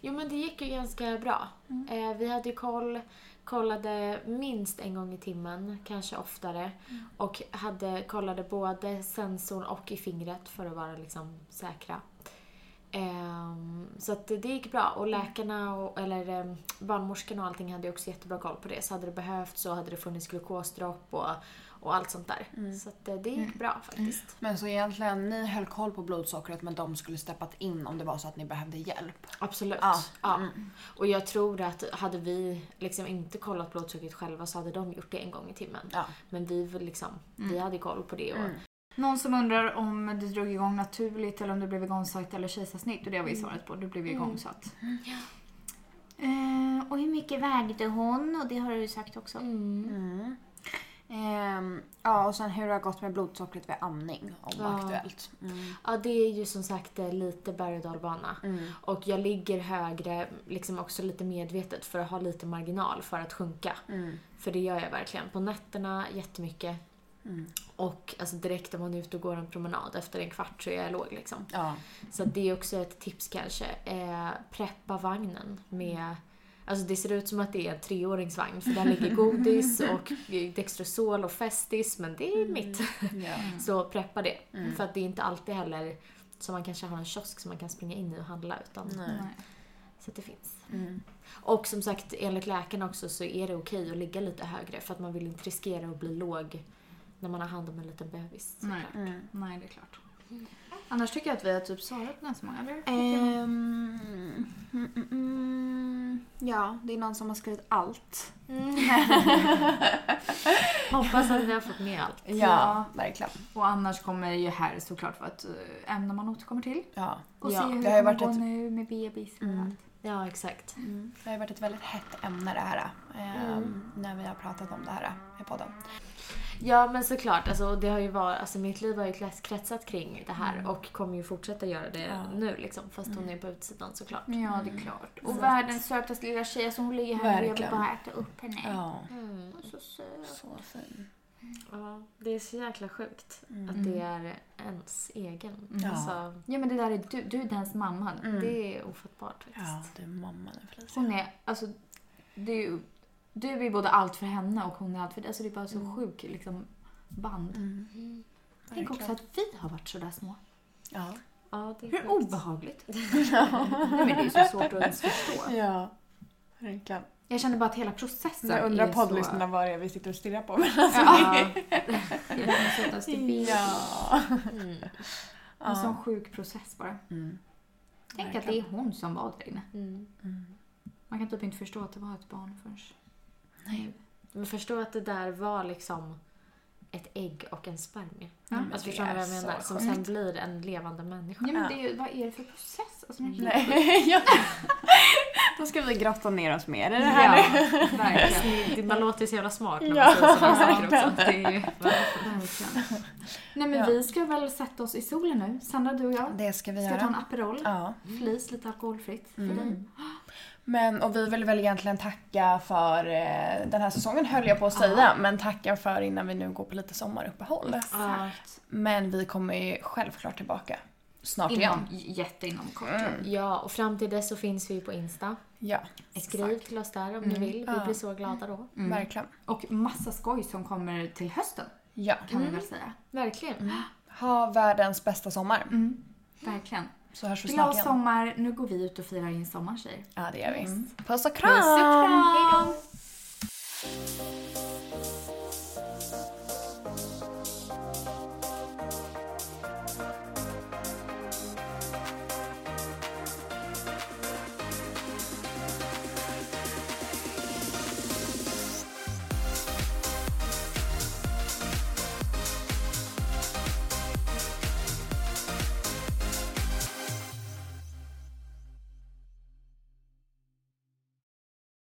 [SPEAKER 3] Jo men det gick ju ganska bra. Eh, vi hade ju koll, kollade minst en gång i timmen, kanske oftare. Och hade, kollade både sensorn och i fingret för att vara liksom säkra. Ehm, så att det, det gick bra och läkarna och eller eh, barnmorskorna och allting hade ju också jättebra koll på det. Så hade det behövts så hade det funnits glukosdropp och, och allt sånt där. Så att eh, det gick bra faktiskt.
[SPEAKER 2] Men så egentligen, ni höll koll på blodsockret men de skulle steppat in om det var så att ni behövde hjälp.
[SPEAKER 3] Absolut. Ja.
[SPEAKER 2] Ja.
[SPEAKER 3] Och jag tror att hade vi liksom inte kollat blodsockret själva så hade de gjort det en gång i timmen.
[SPEAKER 2] Ja.
[SPEAKER 3] Men vi, var liksom, vi hade koll på det. Och,
[SPEAKER 2] Mm.
[SPEAKER 1] Någon som undrar om det drog igång naturligt eller om du blev igångsatt eller kejsarsnitt och det har vi svarat på. Du blev Ehm, igångsatt.
[SPEAKER 3] Mm.
[SPEAKER 2] Mm.
[SPEAKER 4] Eh, och hur mycket vägde hon? Och det har du sagt också.
[SPEAKER 2] Ehm, ja, och sen hur det har gått med blodsockret vid amning. Om
[SPEAKER 3] Ja.
[SPEAKER 2] aktuellt. Mm.
[SPEAKER 3] Ja, det är ju som sagt eh, lite berg och dalbana.
[SPEAKER 2] Mm.
[SPEAKER 3] Och jag ligger högre, liksom också lite medvetet för att ha lite marginal för att sjunka.
[SPEAKER 2] Mm.
[SPEAKER 3] För det gör jag verkligen. På nätterna jättemycket.
[SPEAKER 2] Mm.
[SPEAKER 3] Och alltså direkt om man är ute och går en promenad efter en kvart så är jag låg liksom.
[SPEAKER 2] Ja.
[SPEAKER 3] Så att det är också ett tips kanske. Eh, preppa vagnen med Alltså det ser ut som att det är en treåringsvagn för där ligger godis och Dextrosol och Festis men det är mitt.
[SPEAKER 2] Ja.
[SPEAKER 3] Så preppa det.
[SPEAKER 2] Mm.
[SPEAKER 3] För att det är inte alltid heller som man kanske har en kiosk som man kan springa in i och handla utan
[SPEAKER 2] Nej.
[SPEAKER 3] så att det finns.
[SPEAKER 2] Mm.
[SPEAKER 3] Och som sagt, enligt läkaren också så är det okej att ligga lite högre för att man vill inte riskera att bli låg när man har hand om en liten bebis.
[SPEAKER 1] Nej.
[SPEAKER 3] såklart.
[SPEAKER 2] Mm.
[SPEAKER 1] Nej, det är klart. Annars tycker jag att vi har typ svarat på ganska många. eller?
[SPEAKER 2] Ehm, mm, mm, mm. Ja, det är någon som har skrivit allt.
[SPEAKER 3] Mm. Hoppas att vi har fått med allt.
[SPEAKER 1] Ja.
[SPEAKER 2] verkligen.
[SPEAKER 1] Och annars kommer ju här såklart vara ett eh, ämne man återkommer till.
[SPEAKER 2] Ja. Mm.
[SPEAKER 1] Och
[SPEAKER 3] Ja,
[SPEAKER 1] se hur det,
[SPEAKER 2] det har ju
[SPEAKER 1] kommer
[SPEAKER 2] varit
[SPEAKER 1] gå
[SPEAKER 2] ett-
[SPEAKER 1] nu med bebis och allt.
[SPEAKER 3] Ja, exakt.
[SPEAKER 2] Det har ju varit ett väldigt hett ämne det här. ehm, När vi har pratat om det här i podden.
[SPEAKER 3] Ja, men såklart. Alltså, och det har ju varit, alltså, mitt liv har ju krets- kretsat kring det
[SPEAKER 2] Mm.
[SPEAKER 3] här och kommer ju fortsätta göra det nu liksom. Fast hon är på utsidan såklart.
[SPEAKER 2] Mm.
[SPEAKER 1] Ja, det är klart. Mm. Och världens sötaste lilla tjej, alltså hon ligger här och jag vill
[SPEAKER 2] Verkligen.
[SPEAKER 1] bara äta upp henne.
[SPEAKER 2] Ja.
[SPEAKER 3] Mm.
[SPEAKER 1] Så söt.
[SPEAKER 2] Så fin.
[SPEAKER 3] Ja, det är så jäkla sjukt
[SPEAKER 2] Mm.
[SPEAKER 3] att det är ens egen.
[SPEAKER 2] Ja.
[SPEAKER 3] Alltså,
[SPEAKER 1] Ja men det där är du, du är dens mamma.
[SPEAKER 2] Mm.
[SPEAKER 3] det är ofattbart faktiskt.
[SPEAKER 2] Ja, du är mamma nu Felicia.
[SPEAKER 1] Hon är, alltså, det är ju, du är ju både allt för henne och hon är allt för dig. Alltså det är bara så sjuk liksom band.
[SPEAKER 2] Mm.
[SPEAKER 3] Mm.
[SPEAKER 1] Tänk också
[SPEAKER 2] Verkligen.
[SPEAKER 1] att vi har varit sådär små.
[SPEAKER 2] Ja.
[SPEAKER 3] Ja, det är
[SPEAKER 1] Hur
[SPEAKER 3] sjukt.
[SPEAKER 1] obehagligt. Nej, men det är ju så svårt att ens förstå.
[SPEAKER 2] Ja, verkligen.
[SPEAKER 1] Jag känner bara att hela processen
[SPEAKER 2] Jag
[SPEAKER 1] är
[SPEAKER 2] undrar
[SPEAKER 1] så...
[SPEAKER 2] poddlyssnarna vad det är vi sitter och stirrar på. alltså,
[SPEAKER 1] Ja. Det är den sötaste bild.
[SPEAKER 2] Ja.
[SPEAKER 3] Mm.
[SPEAKER 1] En sån sjuk process bara.
[SPEAKER 2] Mm.
[SPEAKER 1] Tänk att det är
[SPEAKER 2] Verkligen.
[SPEAKER 1] hon som var där inne.
[SPEAKER 3] Mm.
[SPEAKER 1] Man kan typ inte förstå att det var ett barn förrän...
[SPEAKER 3] Men förstå att det där var liksom ett ägg och en spermie.
[SPEAKER 1] Ja.
[SPEAKER 2] Men
[SPEAKER 3] Alltså
[SPEAKER 2] det
[SPEAKER 3] förstår ni
[SPEAKER 2] är
[SPEAKER 3] vad jag
[SPEAKER 2] så
[SPEAKER 3] menar? Som
[SPEAKER 2] sjukt.
[SPEAKER 3] sen blir en levande människa.
[SPEAKER 1] Ja, men
[SPEAKER 2] Ja.
[SPEAKER 1] det är ju, vad är det för process? Alltså, man-
[SPEAKER 2] Nej. ja. Då ska vi grotta ner oss mer i det här.
[SPEAKER 1] Ja, verkligen.
[SPEAKER 3] Det- Man låter ju så jävla smart när man
[SPEAKER 2] Ja.
[SPEAKER 3] säger sådana saker
[SPEAKER 1] Ja,
[SPEAKER 3] också.
[SPEAKER 1] det är ju, verkligen. Nej men
[SPEAKER 2] Ja.
[SPEAKER 1] vi ska väl sätta oss i solen nu. Sandra, du och jag.
[SPEAKER 2] Det ska vi
[SPEAKER 1] Ska ta en
[SPEAKER 2] göra.
[SPEAKER 1] Aperol.
[SPEAKER 2] Ja.
[SPEAKER 1] Flis, lite alkoholfritt. för
[SPEAKER 2] Mm.
[SPEAKER 1] dig.
[SPEAKER 2] Men, och vi vill väl egentligen tacka för eh, den här säsongen höll jag på att säga, men tacka för innan vi nu går på lite sommaruppehåll.
[SPEAKER 1] Exakt.
[SPEAKER 2] Men vi kommer ju självklart tillbaka snart igen.
[SPEAKER 1] Inom, jätte inom kort.
[SPEAKER 2] Mm.
[SPEAKER 3] Ja, och fram till dess så finns vi på Insta.
[SPEAKER 2] Ja,
[SPEAKER 3] Skriv till oss där om ni vill. Vi
[SPEAKER 2] Ja.
[SPEAKER 3] blir så glada då.
[SPEAKER 2] verkligen.
[SPEAKER 1] Mm. Och massa skoj som kommer till hösten
[SPEAKER 2] Ja.
[SPEAKER 1] kan vi väl säga.
[SPEAKER 3] Verkligen.
[SPEAKER 2] Ha världens bästa sommar.
[SPEAKER 1] Verkligen.
[SPEAKER 2] Så hörs vi snart
[SPEAKER 1] Glad
[SPEAKER 2] igen.
[SPEAKER 1] sommar. Nu går vi ut och firar in sommar tjejer.
[SPEAKER 2] Ja, det gör vi. Puss och
[SPEAKER 1] Puss och
[SPEAKER 2] kram!
[SPEAKER 1] kram! Hej då!